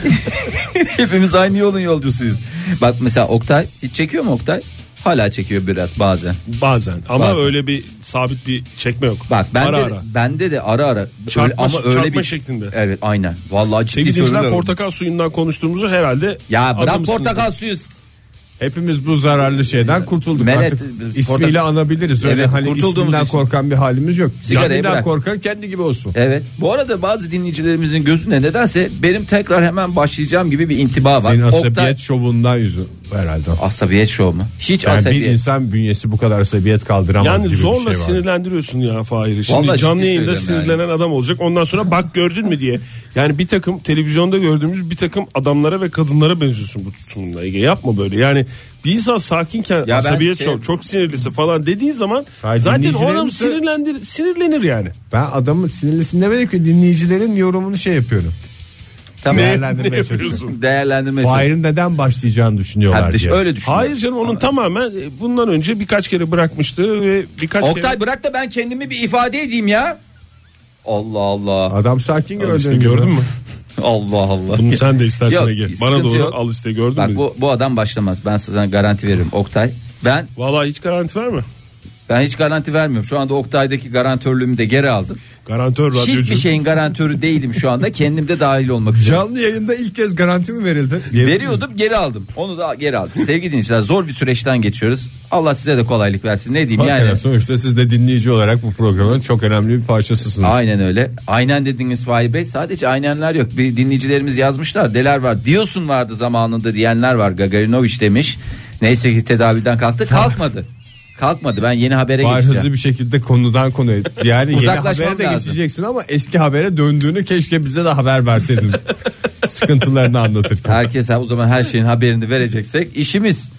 Hepimiz aynı yolun yolcusuyuz. Bak mesela Oktay hiç çekiyor mu Oktay? Hala çekiyor biraz bazen. Bazen ama Bazen. öyle bir sabit bir çekme yok. Bak bende ara de, ara. bende de ara ara Çarpma- öyle, ama öyle çarpma bir şeklinde. Evet aynen. Vallahi ciddi Sevgili dinleyiciler, söylüyorum. portakal suyundan konuştuğumuzu herhalde ya bırak anlamışsınız. portakal suyu. Hepimiz bu zararlı şeyden kurtulduk Menet- artık. ismiyle portak- anabiliriz. Öyle Evet, hani kurtulduğumuz isminden için. korkan bir halimiz yok. Sigarayı Canından bırak. korkan kendi gibi olsun. Evet. Bu arada bazı dinleyicilerimizin gözünde nedense benim tekrar hemen başlayacağım gibi bir intiba var. Senin asabiyet Oktay- şovundan yüzü herhalde. Asabiyet şovu mu? Hiç Yani bir asabiyet. insan bünyesi bu kadar asabiyet kaldıramaz Yani gibi zorla bir şey var. sinirlendiriyorsun ya Fahir'i. Şimdi Vallahi canlı ciddi yayında söylüyorum sinirlenen adam olacak. Ondan sonra bak gördün mü diye. Yani bir takım televizyonda gördüğümüz bir takım adamlara ve kadınlara benziyorsun bu tutumunda. Ege yapma böyle. Yani bir insan sakinken ben asabiyet şey- çok, çok sinirlisi falan dediğin zaman Hayır, zaten o adam dinleyicilerimiz de- sinirlendir, sinirlenir yani. Ben adamın sinirlisin demedim ki dinleyicilerin yorumunu şey yapıyorum. Tamam. Ne Değerlendirmeye çalışıyorum. yapıyorsun? Değerlendirme çalışıyorum. Fahir'in neden başlayacağını düşünüyorlar Ha, dış- diye. öyle düşün. Hayır canım onun tamamen e, bundan önce birkaç kere bırakmıştı ve birkaç kere... Oktay bırak da ben kendimi bir ifade edeyim ya. Allah Allah. Adam sakin gördün, İşte gördün mü? Allah Allah. Bunu sen de istersen Yok, Ege. Bana sıkıntı doğru yok. al işte gördün Bak mü? bu, bu adam başlamaz. Ben sana garanti veririm Oktay. Ben Vallahi hiç garanti verme. ben hiç garanti vermiyorum. Şu anda Oktay'daki garantörlüğümü de geri aldım. Garantör radyocu. Hiçbir şeyin garantörü değilim şu anda. Kendim de dahil olmak üzere. Canlı yayında ilk kez garanti mi verildi? Veriyordum geri aldım. Onu da geri aldım. Sevgili dinleyiciler zor bir süreçten geçiyoruz. Allah size de kolaylık versin. Ne diyeyim Yani. yani. Sonuçta siz de dinleyici olarak bu programın çok önemli bir parçasısınız. Aynen öyle. Aynen dediniz Fahir Bey. Sadece aynenler yok. Bir dinleyicilerimiz yazmışlar. Neler var? Diyorsun vardı zamanında diyenler var. Gagarinovic demiş. Neyse ki tedaviden kalktı. Kalkmadı. Kalkmadı. Ben yeni habere Var geçeceğim. hızlı bir şekilde konudan konuya. Yani yeni Uzaklaşmam habere de lazım. geçeceksin ama eski habere döndüğünü keşke bize de haber verseydin. Sıkıntılarını anlatırken. Herkes ha, o zaman her şeyin haberini vereceksek işimiz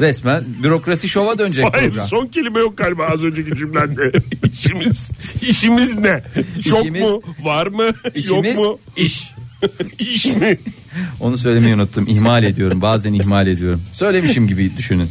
resmen bürokrasi şova dönecek Hayır program. son kelime yok galiba az önceki cümlende. işimiz işimiz ne? Çok İşimiz- mu? Var mı? İşimiz yok mu? iş. İş mi? Onu söylemeyi unuttum. İhmal ediyorum. Bazen ihmal ediyorum. Söylemişim gibi düşünün.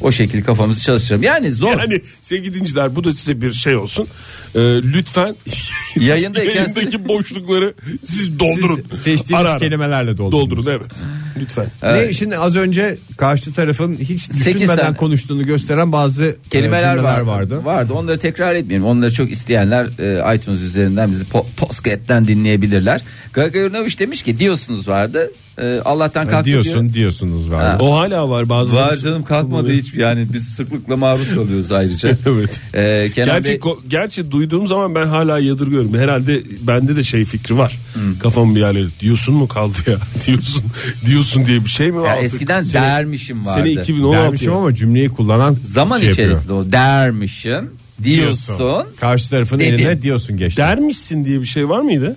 O şekil kafamızı çalıştıralım. Yani zor. Yani sevgili dinleyiciler bu da size bir şey olsun. Ee, lütfen Yayındayken- yayındaki boşlukları siz doldurun. Siz seçtiğiniz Ara ara. kelimelerle doldurun. Doldurun evet. Lütfen. Ne işin az önce karşı tarafın hiç Sekiz düşünmeden tane. konuştuğunu gösteren bazı e, Kelimeler cümleler vardı. vardı. vardı. Onları tekrar etmeyeyim. Onları çok isteyenler e, iTunes üzerinden bizi po- Pocket'ten dinleyebilirler. Gagarunovic demiş ki diyorsunuz vardı. E, Allah'tan kalktı diyor. Diyorsun diyorsunuz vardı. Ha. O hala var bazı. Var canım kalkmadı hiç. Yani biz sıklıkla maruz kalıyoruz ayrıca. Evet. E, Kenan Gerçi, Bey- ko- gerçi duyduğum zaman ben hala yadırgıyorum. Herhalde bende de şey fikri var. Hmm. Kafam bir yerlere diyorsun mu kaldı ya? diyorsun diyorsun diye bir şey mi var? ya artık? eskiden Sene- dermişim vardı. Sene 2016 Dermişim ya. ama cümleyi kullanan Zaman şey yapıyor. içerisinde o dermişim diyorsun. Karşı tarafın Dedim. eline diyorsun geçti. Dermişsin diye bir şey var mıydı?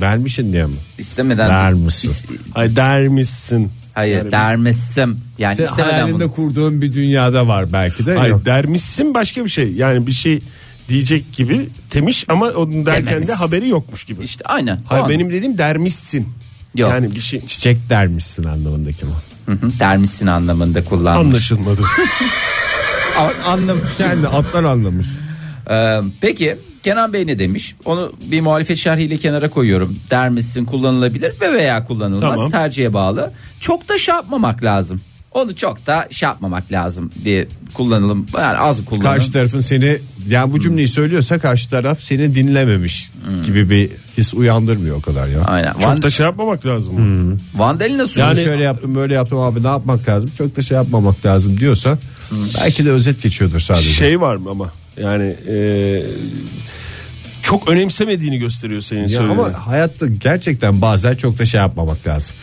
Vermişin diye mi? istemeden Dermişim. İs- Hayır dermişsin. Hayır Yani- dermişim. Yani Sen Hani istemeden hayalinde bunu. kurduğun bir dünyada var belki de. Hayır Şey Yok. dermişsin başka bir şey. Yani bir şey diyecek gibi temiş ama onun derken Dememiş. de haberi yokmuş gibi. İşte aynen. Hayır O benim dediğim dermişsin. Yok. Yani bir şey Çiçek dermişsin anlamındaki mi? Hı, dermişsin anlamında kullanmış. anlaşılmadı. Anlamış. Yani atlar anlamış. Ee, peki Kenan Bey ne demiş? Onu bir muhalefet şerhiyle kenara koyuyorum. Dermişsin kullanılabilir ve veya kullanılmaz Tamam. tercihe bağlı. Çok da şey yapmamak lazım. Onu çok da şey yapmamak lazım diye kullanalım. Yani az kullanalım. Karşı tarafın seni yani bu cümleyi söylüyorsa karşı taraf seni dinlememiş gibi bir his uyandırmıyor o kadar ya. Hmm. Aynen. Van, Hmm. Çok da şey yapmamak lazım. Vandalina suyu. Yani şöyle yaptım böyle yaptım abi ne yapmak lazım? Çok da şey yapmamak lazım diyorsa Hmm. Şey belki de özet geçiyordur sadece. Şey var mı ama yani e, çok önemsemediğini gösteriyor senin Ya söylediğin. ama hayatta gerçekten bazen çok da şey yapmamak lazım.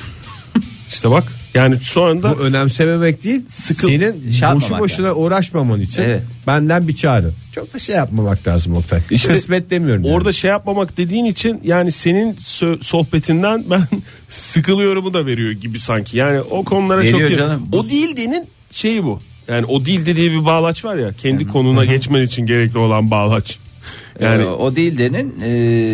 İşte bak yani sonra Bu da önemsememek değil, Sıkıl- senin şey yapmamak boşu boşuna uğraşmaman için Evet. benden bir çağrı. Çok da şey yapmamak lazım Oktay. İşte Kısmet demiyorum. yani. orada şey yapmamak dediğin için yani senin sö- sohbetinden ben sıkılıyorumu da veriyor gibi sanki. Yani o konulara Veriyor çok canım. O dildenin şeyi bu. Yani o dil dediği bir bağlaç var ya kendi konuna geçmen için gerekli olan bağlaç. Yani Ee, o değil denin e,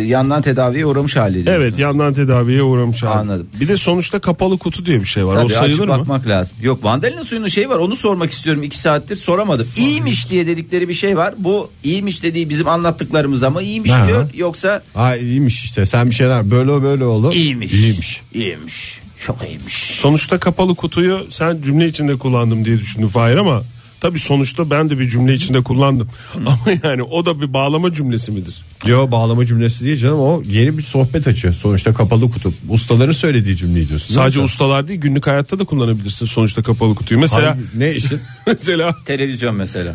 yandan tedaviye uğramış hali. diyorsun. evet yandan tedaviye uğramış abi. Anladım. Bir de sonuçta kapalı kutu diye bir şey var. Tabii, o sayılır açıp mı? bakmak lazım. Yok vandalina suyunun şeyi var onu sormak istiyorum. iki saattir soramadım. İyiymiş diye dedikleri bir şey var. Bu iyiymiş dediği bizim anlattıklarımız ama iyiymiş Ha. diyor. Yoksa Ha iyiymiş işte sen bir şeyler böyle böyle olur. iyiymiş. İyiymiş. İyiymiş. Çok iyiymiş. Sonuçta kapalı kutuyu sen cümle içinde kullandım diye düşündün Fahir ama tabii sonuçta ben de bir cümle içinde kullandım. Ama yani o da bir bağlama cümlesi midir? Yo bağlama cümlesi değil canım o yeni bir sohbet açı. Sonuçta kapalı kutup. Ustaların söylediği cümleyi diyorsun. Sadece Değil mi ustalar değil günlük hayatta da kullanabilirsin sonuçta kapalı kutuyu. sen? Mesela Hangi- ne işin? mesela Televizyon mesela.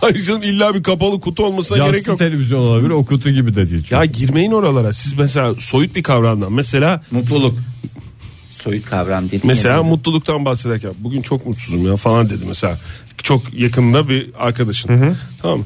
hayır canım illa bir kapalı kutu olmasına gerek Yansın yok. televizyon olabilir o kutu gibi de değil. çünkü. Ya girmeyin oralara. Siz mesela soyut bir kavramdan mesela Mutluluk. Soyut kavram değil. Mesela Yani. mutluluktan bahsederken bugün çok mutsuzum ya falan dedi mesela. Çok yakında bir arkadaşın. Tamam mı?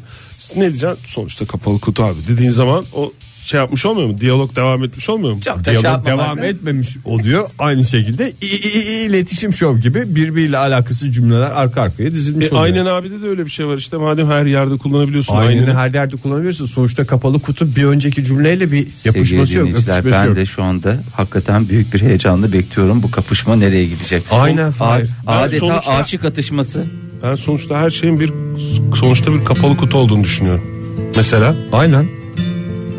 ne diyeceksin? Sonuçta kapalı kutu abi dediğin zaman o şey yapmış olmuyor mu? Diyalog devam etmiş olmuyor mu? Çok da şey Diyalog yapmamak devam lazım. etmemiş oluyor. Aynı şekilde i- i- i- iletişim şov gibi birbiriyle alakası cümleler arka arkaya dizilmiş oluyor. E, Aynen abide de öyle bir şey var işte madem her yerde kullanabiliyorsun. Aynını aynını. her yerde kullanabiliyorsun. Sonuçta kapalı kutu bir önceki cümleyle bir yapışması Sevgili yok. dinleyiciler, öpüşmesi ben yok. de şu anda hakikaten büyük bir heyecanla bekliyorum. Bu kapışma nereye gidecek? Aynen, A- Fahir. Adeta sonuçta- aşık atışması. Ben sonuçta her şeyin bir sonuçta bir kapalı kutu olduğunu düşünüyorum. Mesela Aynen.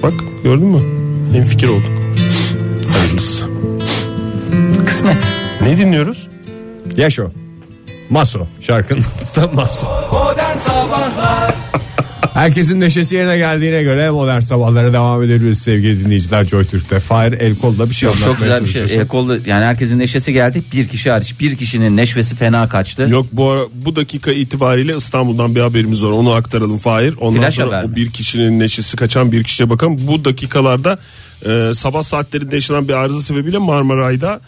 bak gördün mü? En fikir olduk. Hayırlısı. Kısmet. Ne dinliyoruz? Yaşo. Maso. Şarkının adı da Maso. Modern Sabahlar Herkesin neşesi yerine geldiğine göre modern sabahlara devam edebiliriz sevgili dinleyiciler Joy Türk'te. Fahir el kolla bir şey Yok, çok anlatmaya güzel bir şey. çalışıyorsun. E, kolda, yani herkesin neşesi geldi. Bir kişi hariç. Bir kişinin neşvesi fena kaçtı. Yok bu ara- bu dakika itibariyle İstanbul'dan bir haberimiz var. Onu aktaralım Fahir. Ondan Flash sonra haber o mi? bir kişinin neşesi kaçan bir kişiye bakalım. Bu dakikalarda e, sabah saatlerinde yaşanan bir arıza sebebiyle Marmaray'da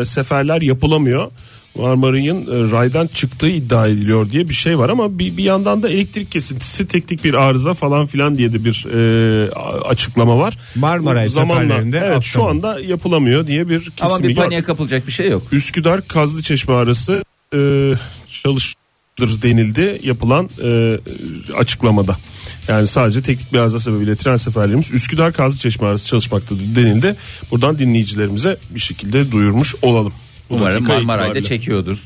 e, seferler yapılamıyor. Marmaray'ın e, raydan çıktığı iddia ediliyor diye bir şey var ama bir, bir yandan da elektrik kesintisi teknik bir arıza falan filan diye de bir e, a- açıklama var. Marmaray Bu zamanla- seferlerinde evet, şu atlamıyor. anda yapılamıyor diye bir kesin Ama bir bilgi var. paniğe kapılacak bir şey yok. Üsküdar Kazlıçeşme arası e, çalıştır denildi yapılan e, açıklamada. Yani sadece teknik bir arıza sebebiyle tren seferlerimiz Üsküdar Kazlıçeşme arası çalışmaktadır denildi. Buradan dinleyicilerimize bir şekilde duyurmuş olayım. Bu Umarım dakika Marmaray'da itibariyle. çekiyordur.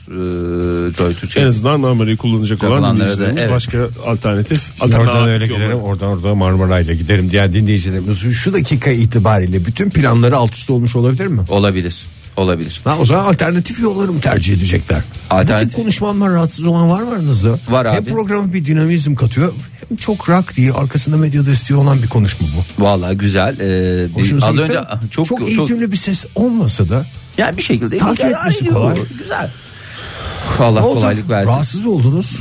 Ee, Joy Türkçe. En azından Marmara'yı kullanacak olan Yapılanlara da, dinleyicilerimiz evet. başka E, alternatif Oradan öyle alternatif giderim yolları. oradan orada Marmaray'la giderim diyen dinleyicilerimiz şu dakika itibariyle bütün planları alt üst olmuş olabilir mi? Olabilir. Olabilir. Ha, o zaman alternatif yolları mı tercih edecekler? Alternatif- Bu tip konuşmanlar rahatsız olan var mı aranızda? Var hem abi. programa bir dinamizm katıyor hem çok rak diye arkasında medyada istiyor olan bir konuşma bu. Vallahi güzel. Ee, bir- Hoşunuza az gitti önce mi? çok çok, çok eğitimli bir ses olmasa da yani bir şekilde Takip idare etmesi ediyor. kolay. Güzel. Allah Ne oldu? Ah, kolaylık versin. Rahatsız, Rahatsız mı oldunuz?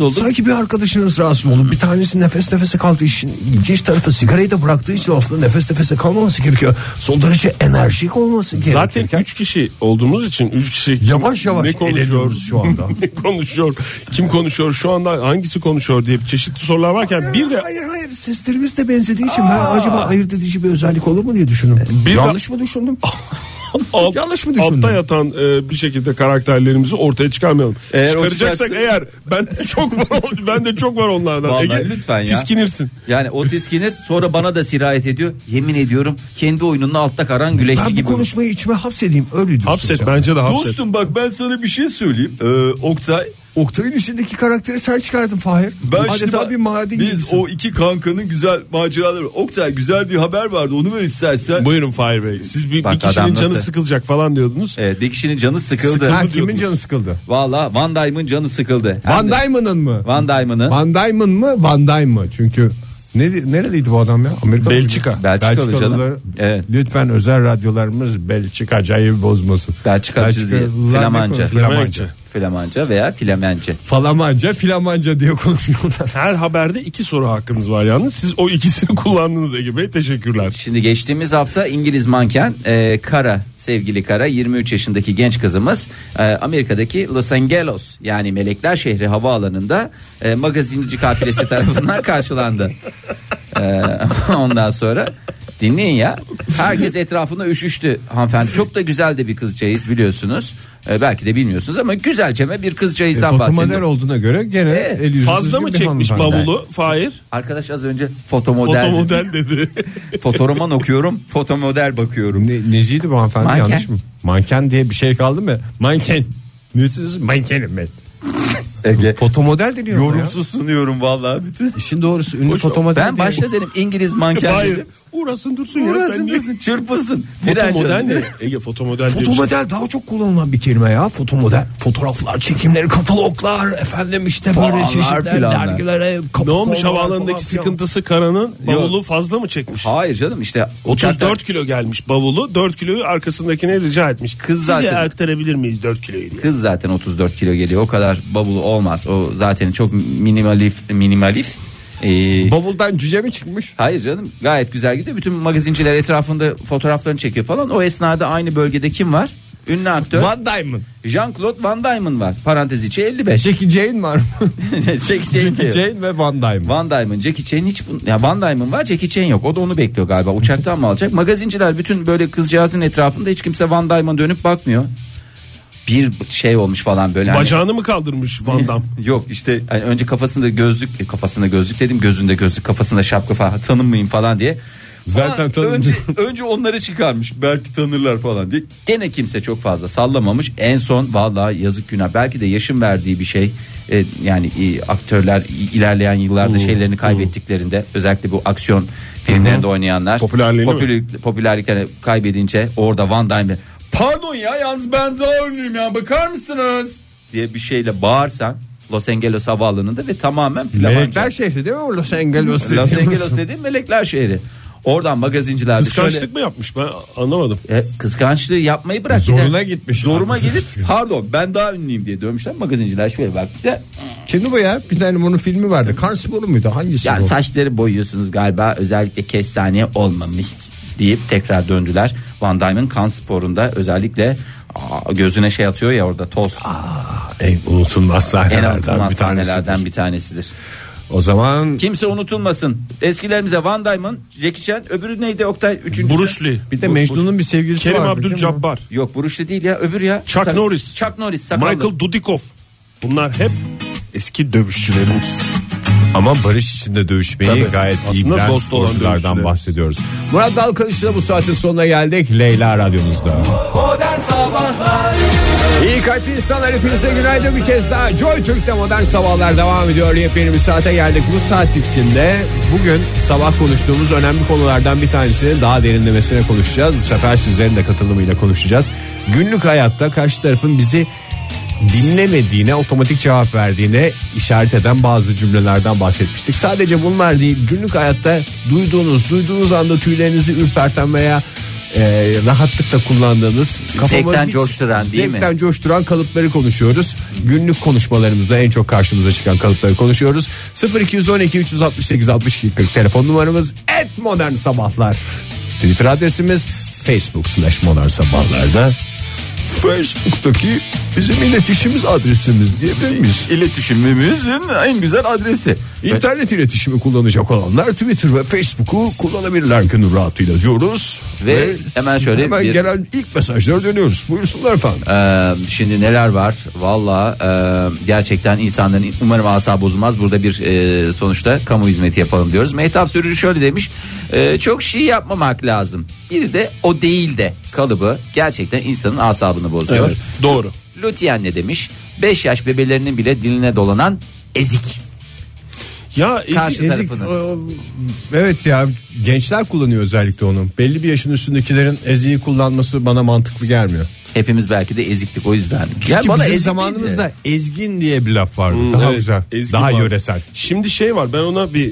oldum. Sanki bir arkadaşınız rahatsız oldu. Bir tanesi nefes nefese kaldı. İşin ilginç tarafı sigarayı da bıraktığı için aslında nefes nefese kalmaması gerekiyor. Son derece enerjik olması gerekiyor. Zaten 3 kişi olduğumuz için 3 kişi kim- Yavaş yavaş ne konuşuyor eleniyoruz şu anda. ne konuşuyor? Kim konuşuyor? Şu anda hangisi konuşuyor diye çeşitli sorular varken bir de Hayır hayır seslerimiz de benzediği için ben acaba ayırt edici bir özellik olur mu diye düşündüm. E, Bir Ah, Yanlış mı düşündüm? alt, Yanlış mı düşündüm? Altta yatan e, bir şekilde karakterlerimizi ortaya çıkarmayalım. Eğer o Çıkaracaksak çıkarsa- eğer ben de çok var ben de çok var onlardan. Vallahi lütfen ya. Tiskinirsin. Yani o diskinir sonra bana da sirayet ediyor. Yemin ediyorum kendi oyununun altta karan güleşçi Ben bu gibi. konuşmayı içime hapsedeyim öyle diyorsun. Hapset sen. bence de hapset. bak ben sana bir şey söyleyeyim. Ee, Oktay Oktay'ın içindeki karakteri sen çıkardın Fahir. Ben şimdi Adeta bak- bir maden Biz gibisin. o iki kankanın güzel maceraları. Oktay güzel bir haber vardı onu ver istersen. Buyurun Fahir Bey. Siz bir, Bak bir kişinin adam canı nasıl- E- sıkılacak falan diyordunuz. Evet bir kişinin canı sıkıldı. Ha, kimin canı sıkıldı? Valla Van Dyke'ın canı sıkıldı. Hem Van de Dyman'ın mı? Van Dyke'ın Van Dyman mı Van Dyne mı? Çünkü ne, neredeydi bu adam ya? Amerika Belçika. Belçikalı canım. Evet. Evet. Lütfen özel radyolarımız Belçikacayı bozmasın. Belçikacı diye. Belçikalılar ne Flamanca. konuşuyor? Flamanca. Flamanca veya filamence. Falamanca filamanca diye konuşuyorlar. E, Her haberde iki soru hakkınız var yalnız. Siz o ikisini kullandınız Ege Bey. Teşekkürler. Şimdi geçtiğimiz hafta İngiliz manken e, Kara sevgili Kara 23 yaşındaki genç kızımız e, Amerika'daki Los Angeles yani Melekler Şehri havaalanında e, magazinci kafilesi tarafından karşılandı. E, ondan sonra dinleyin ya herkes etrafında üşüştü hanımefendi çok da güzel de bir kızcağız biliyorsunuz. E, belki de bilmiyorsunuz ama güzelceme bir kızcağızdan Fotomodel bahsediyorum. olduğuna göre gene el yüzü Fazla düzgün mı bir çekmiş hanımefendi. bavulu? Fahir. Arkadaş az önce fotomodel, fotomodel. Fotomodel dedi. fotoroman okuyorum fotomodel bakıyorum. Ne, neciydi bu hanımefendi Manken. yanlış mı? Manken diye bir şey kaldı mı? Manken. Nesiniz? Mankenim ben. Ege. Fotomodel deniyor mu ya? Yorumsuz sunuyorum vallahi bütün. İşin doğrusu ünlü Boş- fotomodel Ben diye- başta dedim İngiliz manken Fahir. dedim. Uğrasın dursun ya. Uğraşsın Sen niye- diyorsun, çırpılsın. Direnç Fotomodel alın. ne? Ege fotomodel. diye bir şey. Fotomodel daha çok kullanılan bir kelime ya. Fotomodel. Fotoğraflar, çekimleri, kataloglar, efendim işte böyle Falanlar, çeşitler, filanlar. dergilere. kapı Ne olmuş koymalar havaalanındaki falan filan. sıkıntısı Kara'nın bavulu fazla mı çekmiş? Hayır canım işte 34 kilo gelmiş bavulu 4 kiloyu arkasındakine rica etmiş. Kız Size zaten- aktarabilir miyiz 4 kiloyu diye. Kız zaten 34 kilo geliyor. O kadar bavul olmaz. O zaten çok minimalif minimalif. Ee, Bavuldan cüce mi çıkmış? hayır canım gayet güzel gidiyor. Bütün magazinciler etrafında fotoğraflarını çekiyor falan. O esnada aynı bölgede kim var? Ünlü aktör Van Diamond. Jean-Claude Van Diamond var. Parantez içi 55. Jackie Jane var mı? Jackie Chan Jackie diyor. Jane ve Van Diamond. Van Diamond, Jackie Chan hiç bun- ya Van Diamond var, Jackie Chan yok. O da onu bekliyor galiba. Uçaktan mı alacak? Magazinciler bütün böyle kızcağızın etrafında hiç kimse Van Diamond dönüp bakmıyor. Bir şey olmuş falan böyle. hani- Bacağını mı kaldırmış Van Damme? Yok işte hani önce kafasında gözlük, e, kafasında gözlük dedim, gözünde gözlük, kafasında şapka falan tanınmayayım falan diye. Zaten Ama tanınmıyor. önce, önce onları çıkarmış. Belki tanırlar falan diye. Gene kimse çok fazla sallamamış. En son vallahi yazık günah. Belki de yaşın verdiği bir şey. E, yani e, aktörler i- ilerleyen yıllarda şeylerini kaybettiklerinde özellikle bu aksiyon filmlerinde oynayanlar Popülerliğini mi? popüler- popülerliklerini kaybedince orada Van Damme pardon ya yalnız ben daha ünlüyüm ya bakar mısınız diye bir şeyle bağırsan Los Angeles havaalanında ve tamamen flamanca. Melekler şehri değil mi? o Los Angeles. Los Angeles dediğim melekler şehri. Oradan magazinciler de Kıskançlık şöyle mı yapmış ben anlamadım. e, kıskançlığı yapmayı bırak. Zoruna Bir de- gitmiş. Zoruma gelip pardon ben daha ünlüyüm diye dövmüşler. Magazinciler şöyle baktı. Kimdi bu ya? Bir tane bunun filmi vardı. Karspor muydu? Hangisi Yani bu? saçları boyuyorsunuz galiba özellikle kestane olmamış deyip tekrar döndüler. Van Damme'ın kan sporunda özellikle aa, gözüne şey atıyor ya orada toz. En unutulmaz en sahnelerden unutulmaz bir tanesi. sahnelerden bir tanesidir. O zaman Kimse unutulmasın. Eskilerimize Van Diamond, Jackie Chan, öbürü neydi Oktay? Üçüncüsü. Buruşli. bir de Mecnun'un bir sevgilisi Kerim vardı. değil mi? Abdülcabbar. Yok Buruşlu değil ya öbürü ya. Chuck Sak- Norris. Chuck Norris sakallı. Michael Dudikoff. Bunlar hep eski dövüşçülerimiz. Ama barış içinde dövüşmeyi Tabii. gayet iyi Aslında bilen dost olan sporculardan dövüşçüler. bahsediyoruz. Murat Dalkılıç'la bu saatin sonuna geldik. Leyla Radyomuzda. Modern Sabahlar İyi kalp insanlar hepinize günaydın bir kez daha. Joy Türk'te modern sabahlar devam ediyor. Yepyeni bir saate geldik. Bu saat içinde bugün sabah konuştuğumuz önemli konulardan bir tanesini daha derinlemesine konuşacağız. Bu sefer sizlerin de katılımıyla konuşacağız. Günlük hayatta karşı tarafın bizi dinlemediğine, otomatik cevap verdiğine işaret eden bazı cümlelerden bahsetmiştik. Sadece bunlar değil, günlük hayatta duyduğunuz, duyduğunuz anda tüylerinizi ürperten veya e, rahatlıkla kullandığınız kafama Zevkten hiç- coşturan değil mi? zevkten Gerçekten coşturan kalıpları konuşuyoruz. Günlük konuşmalarımızda en çok karşımıza çıkan kalıpları konuşuyoruz. 0212 368 62 40 telefon numaramız et modern sabahlar. Twitter adresimiz Facebook slash modern sabahlarda. Facebook'taki bizim iletişimimiz adresimiz diyebilir miyiz? İletişimimizin en güzel adresi. İnternet iletişimi kullanacak olanlar Twitter ve Facebook'u kullanabilirler günün rahatıyla diyoruz. Ve hemen şöyle hemen bir- gelen ilk mesajlara dönüyoruz. Buyursunlar efendim. Ee, şimdi neler var? Valla gerçekten insanların umarım asabı bozulmaz. Burada bir e, sonuçta kamu hizmeti yapalım diyoruz. Mehtap Sürücü şöyle demiş. "E, çok şey yapmamak lazım. Bir de o değil de kalıbı gerçekten insanın asabını bozuyor. Evet, doğru. Lütfi anne demiş. 5 yaş bebelerinin bile diline dolanan ezik. Ya Karşı ezik, Ezik, tarafını. e, evet ya gençler kullanıyor özellikle onu. Belli bir yaşın üstündekilerin eziği kullanması bana mantıklı gelmiyor. Hepimiz belki de eziktik o yüzden. Çünkü Ya bizim ezik zamanımızda deyince- ezgin diye bir laf vardı. Hmm, daha Evet, güzel, ezgi daha var. yöresel. Şimdi şey var ben ona bir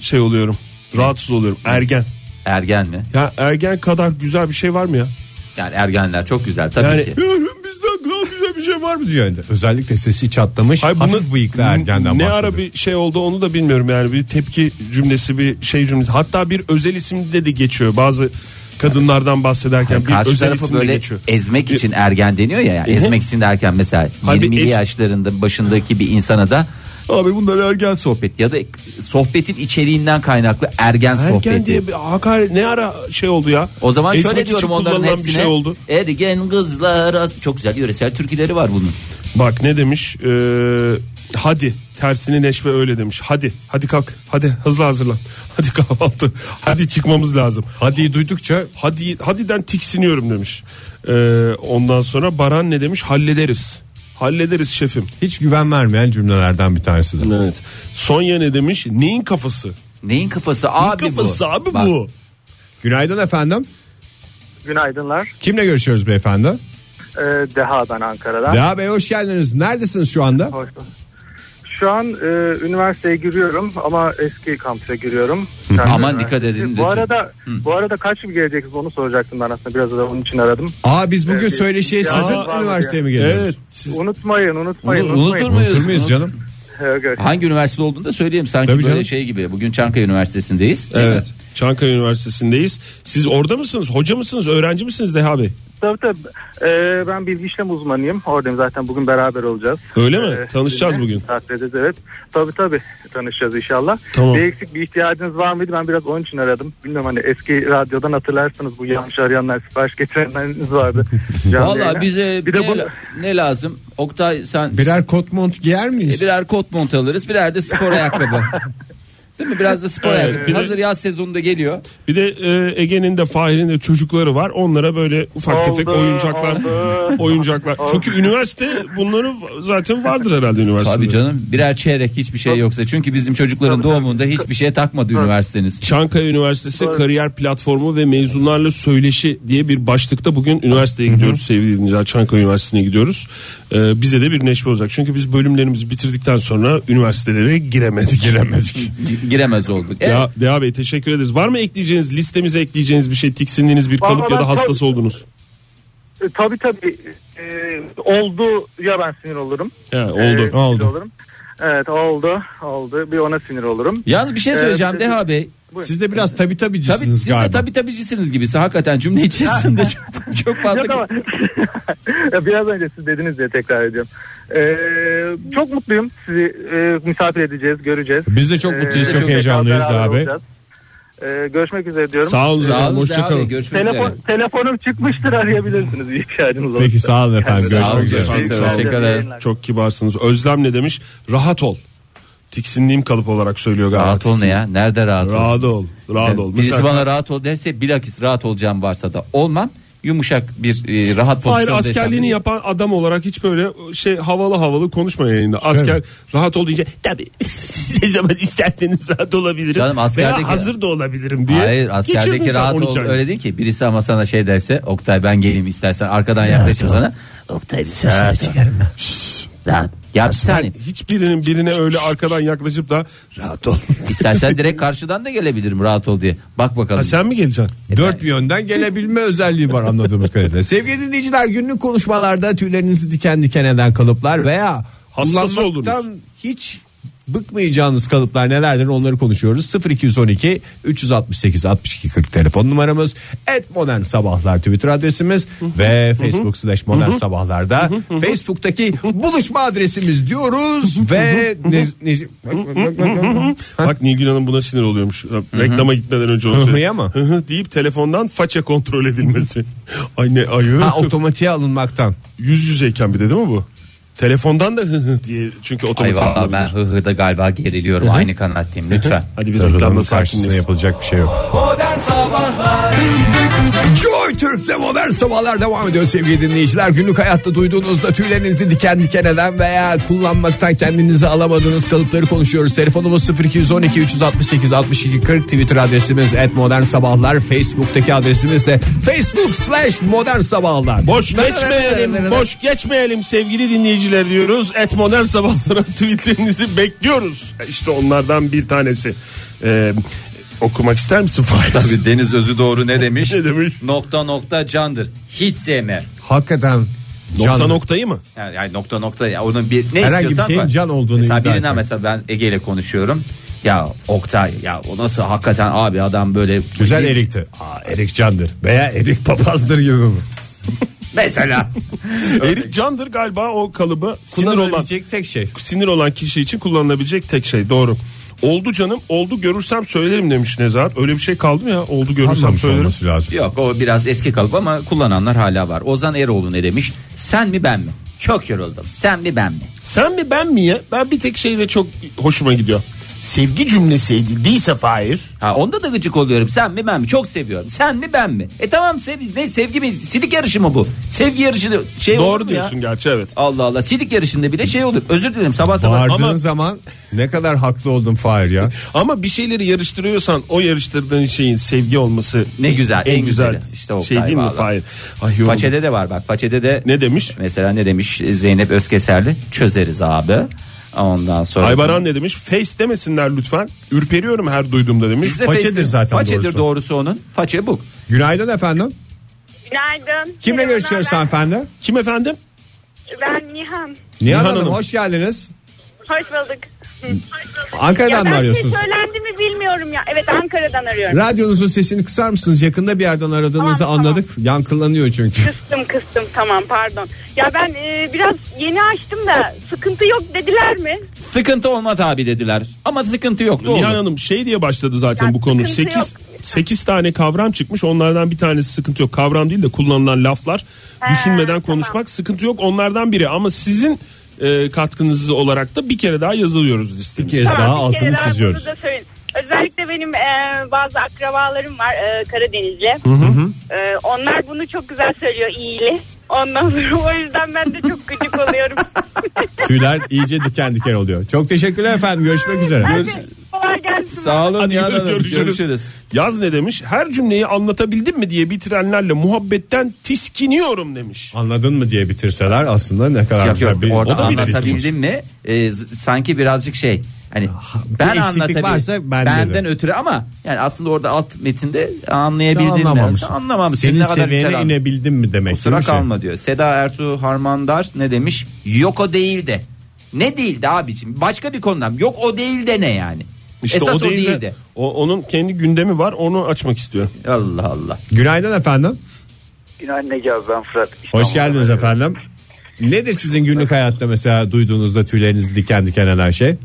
şey oluyorum. Rahatsız oluyorum. Ergen. ergen mi? Ya ergen kadar güzel bir şey var mı ya? Yani ergenler çok güzel tabii Yani- ki. Bizden daha güzel bir şey var mı dünyada? Özellikle sesi çatlamış Hayır, hafif bunu- bıyıklı ergenden Ne başladı. ara bir şey oldu onu da bilmiyorum yani bir tepki cümlesi bir şey cümlesi hatta bir özel isim de de geçiyor bazı kadınlardan bahsederken bir Karşı özel tarafı isim de böyle geçiyor. ezmek için ergen deniyor ya. yani Hı hı. Ezmek için derken mesela Hayır, 20'li es- yaşlarında başındaki bir insana da Abi bunlar ergen sohbet. sohbet ya da sohbetin içeriğinden kaynaklı ergen, Ergen sohbeti. diye bir hakaret ne ara şey oldu ya? O zaman Ezmek şöyle için diyorum onların kullanılan hepsine. bir şey oldu. Ergen kızlar az- çok güzel yöresel türküleri var bunun. Bak ne demiş? Ee, hadi tersini Neşve öyle demiş. Hadi hadi kalk. Hadi hızlı hazırlan. Hadi kahvaltı. Hadi çıkmamız lazım. Hadi duydukça Hadi hadiden tiksiniyorum demiş. Ee, ondan sonra Baran ne demiş? Hallederiz. Hallederiz şefim. hiç güven vermeyen cümlelerden bir tanesidir. Evet. Sonya ne demiş? Neyin kafası? Neyin kafası Neyin abi kafası bu? abi Bak, bu. Günaydın efendim. Günaydınlar. Kimle görüşüyoruz beyefendi? Ee, Deha ben Ankara'dan. Deha Bey hoş geldiniz. Neredesiniz şu anda? Hoş bulduk. Şu an e, üniversiteye giriyorum ama eski kampüse giriyorum. Kendi Aman üniversitesi. dikkat edin Bu lütfen. arada bu arada kaç gibi geleceksiniz onu soracaktım ben aslında biraz da onun için aradım. Aa biz bugün Evet, söyleşiye ya- sizin Aa, üniversiteye mi geliyoruz? Evet. siz- Unutmayın, unutmayın, Unu- unutmayın. Ee, unutur muyuz? Unutur muyuz canım? Yok, yok. Hangi üniversite olduğunu da söyleyeyim sanki Tabii böyle canım. şey gibi. Bugün Çankaya Üniversitesi'ndeyiz. Evet. Çankaya Üniversitesi'ndeyiz. Siz orada mısınız? Hoca mısınız? Öğrenci misiniz Deha Bey? Tabii tabii. Ee, ben bilgi işlem uzmanıyım. Oradayım zaten bugün beraber olacağız. Ee, Öyle mi? Tanışacağız sizinle. bugün. Saatlerdeyiz, evet. Tabii tabii tanışacağız inşallah. Tamam. Bir eksik bir ihtiyacınız var mıydı? Ben biraz onun için aradım. Bilmiyorum hani eski radyodan hatırlarsınız bu yanlış arayanlar sipariş getirenleriniz vardı. Canlı Valla yayına. bize bir de ne, bunu ne lazım? Oktay sen Birer kot mont giyer miyiz? E, birer kot mont alırız, birer de spor ayakkabı. Değil mi? Biraz da spor Evet, ayakkabı. bir de- Hazır yaz sezonunda geliyor. Bir de e, Ege'nin de Fahir'in de çocukları var. Onlara böyle ufak tefek Oldu, oyuncaklar oldu. oyuncaklar. Çünkü üniversite bunları zaten vardır herhalde üniversitede. Tabii canım birer çeyrek hiçbir şey yoksa çünkü bizim çocukların doğumunda hiçbir şeye takmadı üniversiteniz. Çankaya Üniversitesi Kariyer Platformu ve Mezunlarla Söyleşi diye bir başlıkta bugün üniversiteye gidiyoruz sevgili dinleyiciler Çankaya Üniversitesi'ne gidiyoruz. E, bize de bir neşve olacak. Çünkü biz bölümlerimizi bitirdikten sonra üniversitelere giremedik. Giremedik. Gi- Giremez olduk. E, Evet. Ya Deha Bey teşekkür ederiz. Var mı ekleyeceğiniz listemize ekleyeceğiniz bir şey tiksindiğiniz bir kalıp Vallahi ya ben- da hastası oldunuz? E, tabii tabii E, oldu ya ben sinir olurum. He, E, oldu. sinir Olurum. Evet oldu oldu bir ona sinir olurum. Yalnız bir şey söyleyeceğim Evet, Deha Bey. Siz de biraz tabi Tabii tabicisiniz siz de galiba. tabi tabicisiniz gibisi hakikaten cümle içerisinde çok, çok Yok fazla. ama Ya biraz önce siz dediniz diye tekrar ediyorum. Ee, çok mutluyum. Sizi e, misafir edeceğiz, göreceğiz. Biz de çok E, mutluyuz, çok tekrar heyecanlıyız beraber abi. olacağız. Ee, görüşmek üzere diyorum. Sağ olun. Sağ olun Deha Bey, Hoşçakalın. Görüşmek üzere. Telefon, telefonum çıkmıştır arayabilirsiniz bir ihtiyacınız olursa. Peki sağ olun efendim. Kendinize- Görüşmek olun üzere. efendim. Sağ olun. Teşekkür ederim. Çok kibarsınız. Özlem ne demiş? Rahat ol. Tiksindiğim kalıp olarak söylüyor galiba. Rahat ol ne ya? Nerede rahat ol? Rahat ol. Rahat ol. Birisi Mesela bana rahat ol derse bilakis rahat olacağım varsa da olmam. Yumuşak bir e, rahat Hayır pozisyonda askerliğini yaşam. yapan adam olarak hiç böyle şey havalı havalı konuşma yayında. Asker rahat ol deyince tabii siz ne zaman isterseniz rahat olabilirim. Canım, askerdeki- Veya hazır da olabilirim diye. Hayır Geçirdin askerdeki sen rahat 12 ol ay. öyle değil ki. Birisi ama sana şey derse Oktay ben geleyim istersen arkadan yaklaşayım sana. Oktay bir rahat ol. Şşş, Rahat. Ya bir saniye. Hiçbirinin birine öyle arkadan yaklaşıp da rahat ol. İstersen direkt karşıdan da gelebilirim rahat ol diye. Bak bakalım. Ha, sen mi geleceksin? Dört bir yönden gelebilme özelliği var anladığımız kadarıyla. Sevgili dinleyiciler günlük konuşmalarda tüylerinizi diken diken eden kalıplar veya Hastası kullanmaktan oldunuz. hiç bıkmayacağınız kalıplar nelerdir onları konuşuyoruz. 0212 368 62 40 telefon numaramız. Et modern sabahlar Twitter adresimiz ve Facebook slash modern sabahlarda Facebook'taki buluşma adresimiz diyoruz ve ne, ne, Bak Nilgün Hanım buna sinir oluyormuş. Reklama gitmeden önce onu Hı hı söyledi. ya mı? Hı hı deyip telefondan faça kontrol edilmesi. Ay ne ayı. ha, otomatiğe alınmaktan. Yüz yüzeyken bir de değil mi bu? Telefondan da hı hı diye çünkü Ay otomatik vallahi ben alabilir. hı hı da galiba geriliyorum aynı kanattayım lütfen. Hadi bir Reklamın reklamda karşısında sakinleşsin. yapılacak bir şey yok. Modern Sabahlar Joy Türk'te modern sabahlar devam ediyor sevgili dinleyiciler. Günlük hayatta duyduğunuzda tüylerinizi diken diken eden veya kullanmaktan kendinizi alamadığınız kalıpları konuşuyoruz. Telefonumuz 0212 368 62 40 Twitter adresimiz et modern sabahlar. Facebook'taki adresimiz de facebook slash modern sabahlar. Boş geçmeyelim, boş geçmeyelim sevgili dinleyiciler diyoruz. Et modern sabahlara tweetlerinizi bekliyoruz. İşte onlardan bir tanesi. Ee, okumak ister misin Fahir? Tabii Deniz Özü doğru ne demiş? Ne demiş? Nokta nokta candır. Hiç sevme. Hakikaten Nokta Canlı. noktayı mı? Yani, yani nokta nokta ya onun bir ne Herhangi bir istiyorsan şeyin koy. can olduğunu mesela iddia birinden etmek. mesela ben Ege ile konuşuyorum. Ya Oktay ya o nasıl hakikaten abi adam böyle Güzel erikti. Aa, erik candır veya erik papazdır gibi mi? Mesela Erik Candır galiba o kalıbı sinir olan Kullanabilecek tek şey. sinir olan kişi için kullanılabilecek tek şey doğru. Oldu canım oldu görürsem söylerim demiş Nezahat. Öyle bir şey kaldı mı ya? Oldu görürsem Anlamış söylerim. olması lazım. yok o biraz eski kalıp ama kullananlar hala var. Ozan Eroğlu ne demiş? Sen mi ben mi? Çok yoruldum. Sen mi ben mi? Sen mi ben mi ya? Ben bir tek şeyle çok hoşuma gidiyor. Sevgi cümlesiydi değilse Fahir. Ha onda da gıcık oluyorum. Sen mi ben mi? Çok seviyorum. Sen mi ben mi? E tamam sev ne sevgi mi? Sidik yarışı mı bu? Sevgi yarışı da- şey olur Doğru mu diyorsun Ya? gerçi evet. Allah Allah. Sidik yarışında bile şey olur. Özür dilerim sabah sabah. Bağırdığın Ama- zaman ne kadar haklı oldun Fahir ya. Ama bir şeyleri yarıştırıyorsan o yarıştırdığın şeyin sevgi olması Ne güzel, en güzel güzeli. İşte o şey değil mi galiba. Fahir? Ay yoruldum. Façede de var bak. Façede de Ne demiş? Mesela ne demiş Zeynep Özkeserli? Çözeriz abi. Ondan sonra Aybaran ne demiş? Face demesinler lütfen. Ürperiyorum her duyduğumda demiş. Bizde Façedir Facebook- zaten Façedir doğrusu. doğrusu. onun. Façe bu. Günaydın efendim. Günaydın. Kimle Merhabalar, görüşüyoruz hanımefendi? Kim efendim? Ben, ben Nihan. Nihan Nihan Hanım, Hanım. hoş geldiniz. Hoş bulduk. Hı. Ankara'dan Ya mı ben arıyorsunuz? şey söylendi mi bilmiyorum ya. Evet Ankara'dan arıyorum. Radyonuzun sesini kısar mısınız? Yakında bir yerden aradığınızı Tamam, tamam. anladık. Yankılanıyor çünkü. Kıstım kıstım tamam pardon. Ya ben e, biraz yeni açtım da sıkıntı yok dediler mi? Sıkıntı olmaz abi dediler. Ama sıkıntı yoktu. Nihan oldu. Hanım şey diye başladı zaten Ya bu konu. sıkıntı 8 yok. 8 tane kavram çıkmış. Onlardan bir tanesi sıkıntı yok. Kavram değil de kullanılan laflar. düşünmeden tamam. konuşmak sıkıntı yok. Onlardan biri ama sizin e, katkınız olarak da bir kere daha yazılıyoruz listemize. Bir kez daha Tamam, bir kere altını daha çiziyoruz. bunu da söyleyin. Özellikle benim e, bazı akrabalarım var e, Karadenizli. E, onlar bunu çok güzel söylüyor iyili. Ondan sonra o yüzden ben de çok gıcık oluyorum. Tüyler iyice diken diken oluyor. Çok teşekkürler efendim. Görüşmek üzere. Hadi, kolay gelsin. Sağ olun Hadi Nihan Hanım. görüşürüz. Görüşürüz. Yaz ne demiş? Her cümleyi anlatabildim mi diye bitirenlerle muhabbetten tiskiniyorum demiş. Anladın mı diye bitirseler aslında ne kadar Yok güzel yok bir orada o da bir resim. anlatabildim mi? Ee, z- sanki birazcık şey hani ben eksiklik anlatabildim. varsa ben benden dedim. ötürü ama yani aslında orada alt metinde Sen anlayabildin mi? anlamamışsın. Sen Anlamamışsın. Senin ne kadar seviyene güzel anladın. inebildin mi demek. Kusura değil mi şey? kalma diyor. Seda Ertuğ Harmandar ne demiş? Yok o değil de. Ne değildi abicim? Başka bir konudan. Yok o değil de ne yani? İşte Esas o değil de, o- onun kendi gündemi var. Onu açmak istiyorum. Allah Allah. Günaydın efendim. Günaydın Ege abi ben Fırat. Hoş geldiniz efendim. Nedir sizin günlük hayatta mesela duyduğunuzda tüyleriniz diken diken eden şey?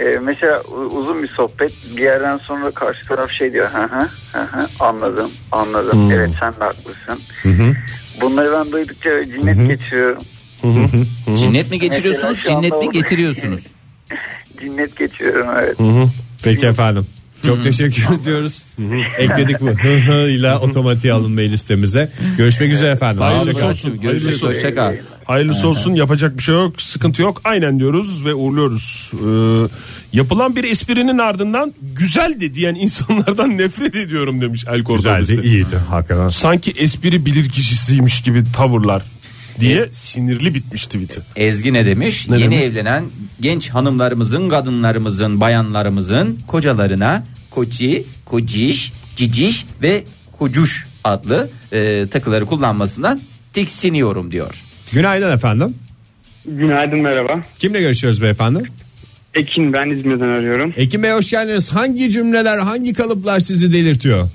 Ee, mesela u- uzun bir sohbet bir yerden sonra karşı taraf şey diyor. Hı hı, hı hı, anladım anladım evet sen de haklısın. Bunları ben duydukça böyle cinnet geçiriyorum. Cinnet mi geçiriyorsunuz? Mesela şu Cinnet anda mi o- getiriyorsunuz? Cinnet geçiriyorum evet. Peki efendim. Çok teşekkür ediyoruz. Ekledik bu hı hı ile otomatiğe alınmayı listemize. Görüşmek üzere efendim. Hayırlısı Hoşçakalın. olsun. Görüşürüz. Hayırlısı olsun. Hoşçakal. Hayırlısı olsun yapacak bir şey yok sıkıntı yok aynen diyoruz ve uğurluyoruz. Ee, yapılan bir esprinin ardından güzel de diyen insanlardan nefret ediyorum demiş El Cordobes'te. Güzeldi, iyiydi hakikaten. Sanki espri bilir kişisiymiş gibi tavırlar diye sinirli bitmiş tweet'i. Ezgi ne demiş? Yeni demiş? evlenen genç hanımlarımızın, kadınlarımızın, bayanlarımızın kocalarına koçi, kociş, ciciş ve kocuş adlı e, takıları kullanmasından tiksiniyorum diyor. Günaydın efendim. Günaydın merhaba. Kimle görüşüyoruz beyefendi? Ekin ben İzmir'den arıyorum. Ekim Bey hoş geldiniz. Hangi cümleler, hangi kalıplar sizi delirtiyor?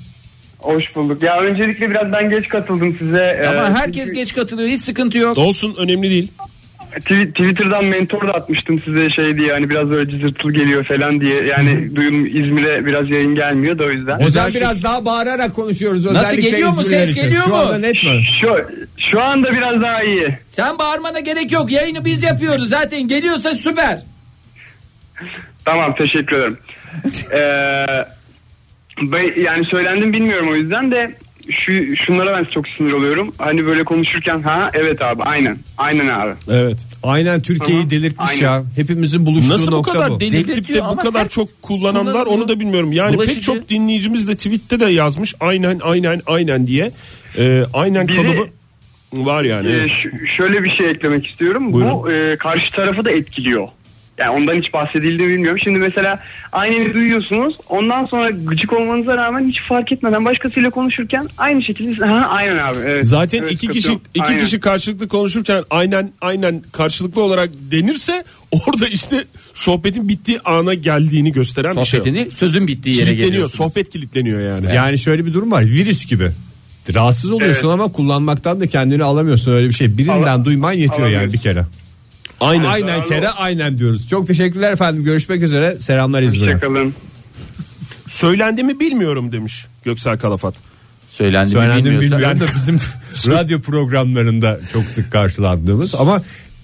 Hoş bulduk. Ya öncelikle biraz ben geç katıldım size. Ama Ee, herkes çünkü geç katılıyor, hiç sıkıntı yok. E, Olsun önemli değil. twi- Twitter'dan mentor da atmıştım size şey diye hani biraz böyle cızırtılı geliyor falan diye. Yani duyum İzmir'e biraz yayın gelmiyor da o yüzden. Özel biraz daha bağırarak konuşuyoruz. Nasıl, özellikle geliyor mu? İzmirliler Ses için. geliyor Şu mu? anda net mi? Şu, şu anda biraz daha iyi. Sen bağırmana gerek yok. Yayını biz yapıyoruz zaten. Geliyorsa süper. Tamam teşekkür ederim. Ee, ben- yani söylendim bilmiyorum o yüzden de şu şunlara ben çok sinir oluyorum. Hani böyle konuşurken ha evet abi aynen. Aynen abi. Evet. Aynen Türkiye'yi Aha, delirtmiş aynen. ya. Hepimizin buluştuğu Nasıl bu nokta kadar delirtip Delirtiyor de bu ama kadar her- çok kullananlar kullanılıyor. onu da bilmiyorum. Yani Bulaşıcı. pek çok dinleyicimiz de tweette de yazmış aynen aynen aynen diye. Ee, aynen Biri- kalıbı var yani. Ee, ş- Ee, şöyle bir şey eklemek istiyorum. Hani Buyurun. Bu e, karşı tarafı da etkiliyor. Yani ondan hiç bahsedildi mi bilmiyorum. Şimdi mesela aynını duyuyorsunuz. Ondan sonra gıcık olmanıza rağmen hiç fark etmeden başkasıyla konuşurken aynı şekilde ha aynen abi. Evet, Zaten Evet, iki kişi katılıyorum. iki Aynen. kişi karşılıklı konuşurken aynen aynen karşılıklı olarak denirse orada işte sohbetin bittiği ana geldiğini gösteren bir şey. Sohbetini sözün bittiği yere Kilitleniyor. geliyor. Sohbet kilitleniyor yani. Yani şöyle bir durum var virüs gibi. Rahatsız oluyorsun ama kullanmaktan da kendini alamıyorsun öyle bir şey. Birinden Ala- duyman yetiyor yani alamıyorsun. bir kere. Aynen. Aynen kere aynen diyoruz. Çok teşekkürler efendim. Görüşmek üzere. Selamlar İzmir'e. Hoşçakalın. Söylendi mi bilmiyorum demiş Göksel Kalafat. Söylendi, Söylendim mi bilmiyorsa. bilmiyorum da bizim radyo programlarında çok sık karşılandığımız ama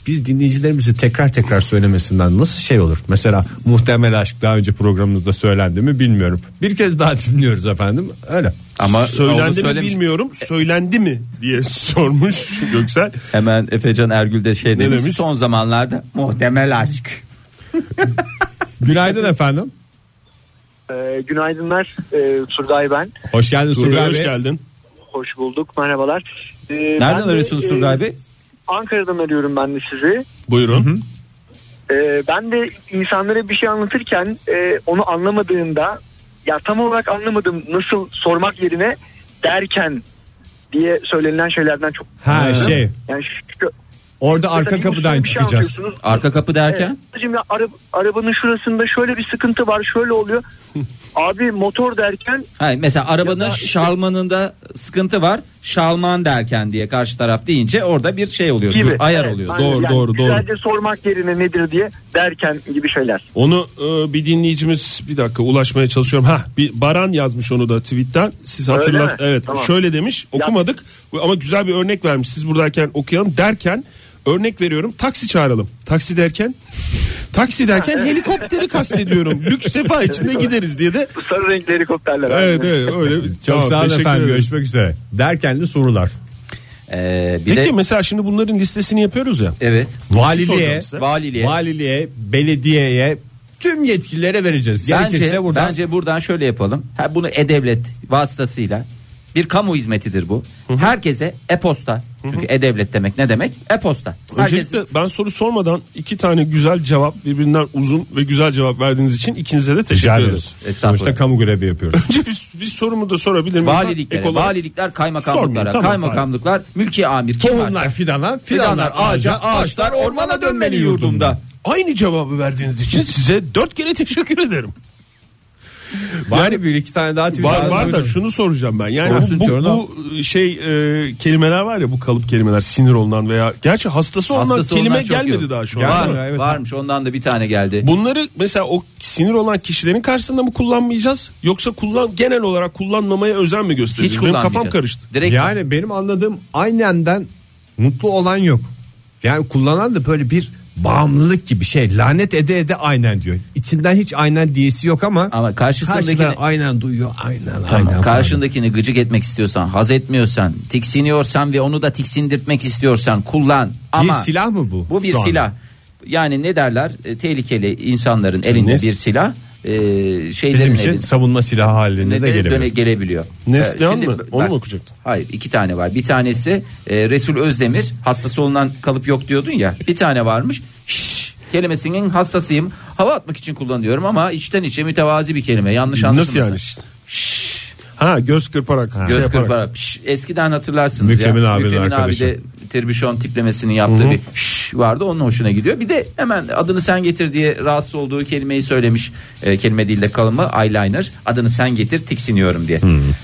biz dinleyicilerimizi tekrar tekrar söylemesinden nasıl şey olur? Mesela muhtemel aşk daha önce programımızda söylendi mi bilmiyorum. Bir kez daha dinliyoruz efendim. Öyle. Ama onu Söylendi mi söylemiş. bilmiyorum. Söylendi mi diye sormuş Göksel. Hemen Efecan Ergül de şey demiş, demiş? Son zamanlarda muhtemel aşk. Günaydın efendim. Ee, günaydınlar. Ee, Turgay ben. Hoş geldiniz Turgay Turgay hoş Bey. geldin. Hoş bulduk. Merhabalar. Ee, ben Nereden de, arıyorsunuz e, Turgay Bey? Ankara'dan arıyorum ben de sizi. Buyurun. Ee, ben de insanlara bir şey anlatırken e, onu anlamadığında ya tam olarak anlamadım nasıl sormak yerine derken diye söylenilen şeylerden çok Ha şey yani şu, orada arka mesela bir kapıdan sürü bir şey çıkacağız. anlatıyorsunuz. Arka kapı derken? Hacım ya ara- arabanın şurasında şöyle bir sıkıntı var şöyle oluyor. Abi motor derken Hayır, mesela arabanın Ya da- şalmanında sıkıntı var. Şalman derken diye karşı taraf deyince orada bir şey oluyor. gibi. Ayar Evet, oluyor. aynen. Doğru, Yani doğru, doğru. Güzelce sormak yerine nedir diye derken gibi şeyler. Onu e, bir dinleyicimiz bir dakika ulaşmaya çalışıyorum. Ha bir Baran yazmış onu da tweetten. Siz Öyle hatırlat. mi? Evet. Tamam. Şöyle demiş. Okumadık ama güzel bir örnek vermiş. Siz buradayken okuyalım derken örnek veriyorum. Taksi çağıralım. Taksi derken taksi derken helikopteri kastediyorum. Lüks sefa içinde gideriz diye de. Sarı renkli helikopterler. abi. Evet evet öyle. bir- Çok Tamam, sağ olun teşekkür efendim. ederim. Görüşmek üzere. Derkenli sorular. Ee, bir Peki de mesela şimdi bunların listesini yapıyoruz ya. evet. Valiliğe, şey soracağım Valiliğe. valiliğe, belediyeye tüm yetkililere vereceğiz. Gerekirse Bence buradan bence buradan şöyle yapalım. Ha bunu e-devlet vasıtasıyla bir kamu hizmetidir bu. Herkese e-posta. Çünkü e-devlet demek ne demek? E-posta. Herkes Öncelikle ben soru sormadan iki tane güzel cevap birbirinden uzun ve güzel cevap verdiğiniz için ikinize de teşekkür rica ederiz. ediyoruz. Estağfurullah. Sonuçta kamu görevi yapıyoruz. Önce biz, biz sorumu da sorabilir miyim? valiliklere, Ek olarak- valilikler kaymakamlıklara, Sormayın, tamam, kaymakamlıklar mülki amir kim varsa. Tohumlar fidana, fidanlar ağaca, ağaçlar ormana dönmeli yurdumda. Aynı cevabı verdiğiniz için size dört kere teşekkür ederim. Var yani bir iki tane daha tweet Var aldım. var da şunu soracağım ben. Yani Olsun bu, bu, Çorlu. bu şey e, kelimeler var ya bu kalıp kelimeler sinir olunan veya gerçi hastası olunan Hastası kelime olunan çok gelmedi yok. daha şu Var an. mı? değil mi? evet. Varmış ondan da bir tane geldi. Bunları mesela o sinir olan kişilerin karşısında mı kullanmayacağız yoksa kullan genel olarak kullanmamaya özen mi göstereceğiz? Hiç Benim kullanmayacağız. kafam karıştı. Direkt Yani benim anladığım aynenden mutlu olan yok. Yani kullanan da böyle bir bağımlılık gibi şey lanet ede ede aynen diyor. İçinden hiç aynen diyesi yok ama, Ama karşısındakini- karşıdan aynen duyuyor aynen aynen. Tamam, falan. karşındakini gıcık etmek istiyorsan, haz etmiyorsan, tiksiniyorsan ve onu da tiksindirtmek istiyorsan kullan. Ama bir silah mı bu? Bu bir şu anda? silah. Yani ne derler? E, tehlikeli insanların elinde Ne? bir silah. E, şeylerin Bizim için elinde- savunma silahı haline ne de de- gelebilir. döne- gelebiliyor. E, Neslihan mı? bak- Onu mu okuyacaktın? Hayır iki tane var. Bir tanesi e, Resul Özdemir hastası olunan kalıp yok diyordun ya. Bir tane varmış. Şşş kelimesinin hastasıyım. Hava atmak için kullanıyorum ama içten içe mütevazi bir kelime. Yanlış Nasıl anlaşılmasın. yani? Şşş, Ha göz kırparak. şey göz yaparak. kırparak. Şşş, eskiden hatırlarsınız Mükremin ya. abinin abi arkadaşı. de tribüşon tiplemesini yaptığı bir şşş vardı. Onun hoşuna gidiyor. Bir de hemen adını sen getir diye rahatsız olduğu kelimeyi söylemiş. E, kelime değil de kalımı eyeliner. Adını sen getir tiksiniyorum diye.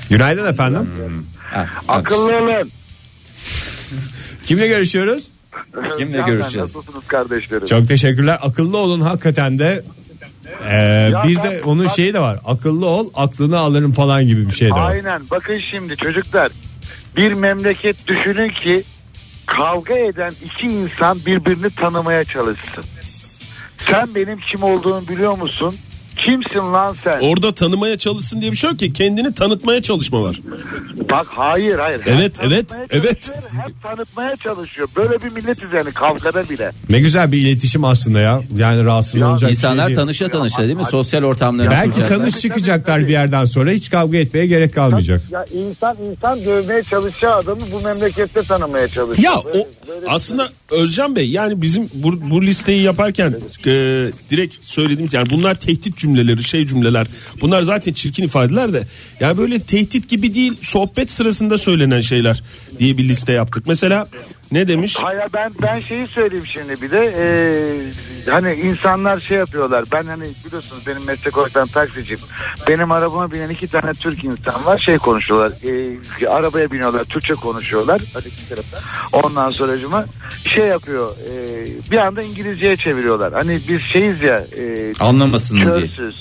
Günaydın efendim. Ha, Akıllı olun. Kimle görüşüyoruz? Kimle görüşeceğiz? Nasılsınız kardeşlerim? Çok teşekkürler. Akıllı olun hakikaten de. Ee, bir ben- de onun ben- şeyi de var. Akıllı ol, aklını alırım falan gibi bir şey de var. Aynen bakın şimdi çocuklar bir memleket düşünün ki kavga eden iki insan birbirini tanımaya çalışsın. Sen benim kim olduğumu biliyor musun? Kimsin lan sen? Orada tanımaya çalışsın diye bir şey yok ki kendini tanıtmaya çalışma var. Bak hayır hayır. Hem Evet, tanıtmaya evet, çalışıyor, evet. Hem tanıtmaya çalışıyor. Böyle bir millet üzerine kavgada bile. Ne güzel bir iletişim aslında ya. Yani rahatsız Ya olacak bir şey İnsanlar değil. tanışa tanışa değil mi? Sosyal ortamlarını Belki kuracaklar. tanış Tabii, çıkacaklar tabii, bir tabii. yerden sonra hiç kavga etmeye gerek kalmayacak. Ya insan insan dövmeye çalışan adamı bu memlekette tanımaya çalışıyor. Ya o Böyle- böyle- aslında Özcan Bey yani bizim bu, bu listeyi yaparken e, direkt söylediğimiz yani bunlar tehdit cümleleri şey cümleler bunlar zaten çirkin ifadeler de yani böyle tehdit gibi değil sohbet sırasında söylenen şeyler diye bir liste yaptık. Mesela ne demiş? Hayır ben ben şeyi söyleyeyim şimdi bir de e, hani insanlar şey yapıyorlar ben hani biliyorsunuz benim meslek olarak ben taksiciyim benim arabama binen iki tane Türk insan var şey konuşuyorlar e, arabaya biniyorlar Türkçe konuşuyorlar hadi iki taraftan. ondan sonra cuma şey yapıyor e, bir anda İngilizceye çeviriyorlar hani biz şeyiz ya e, Anlamasın diye. çölsüz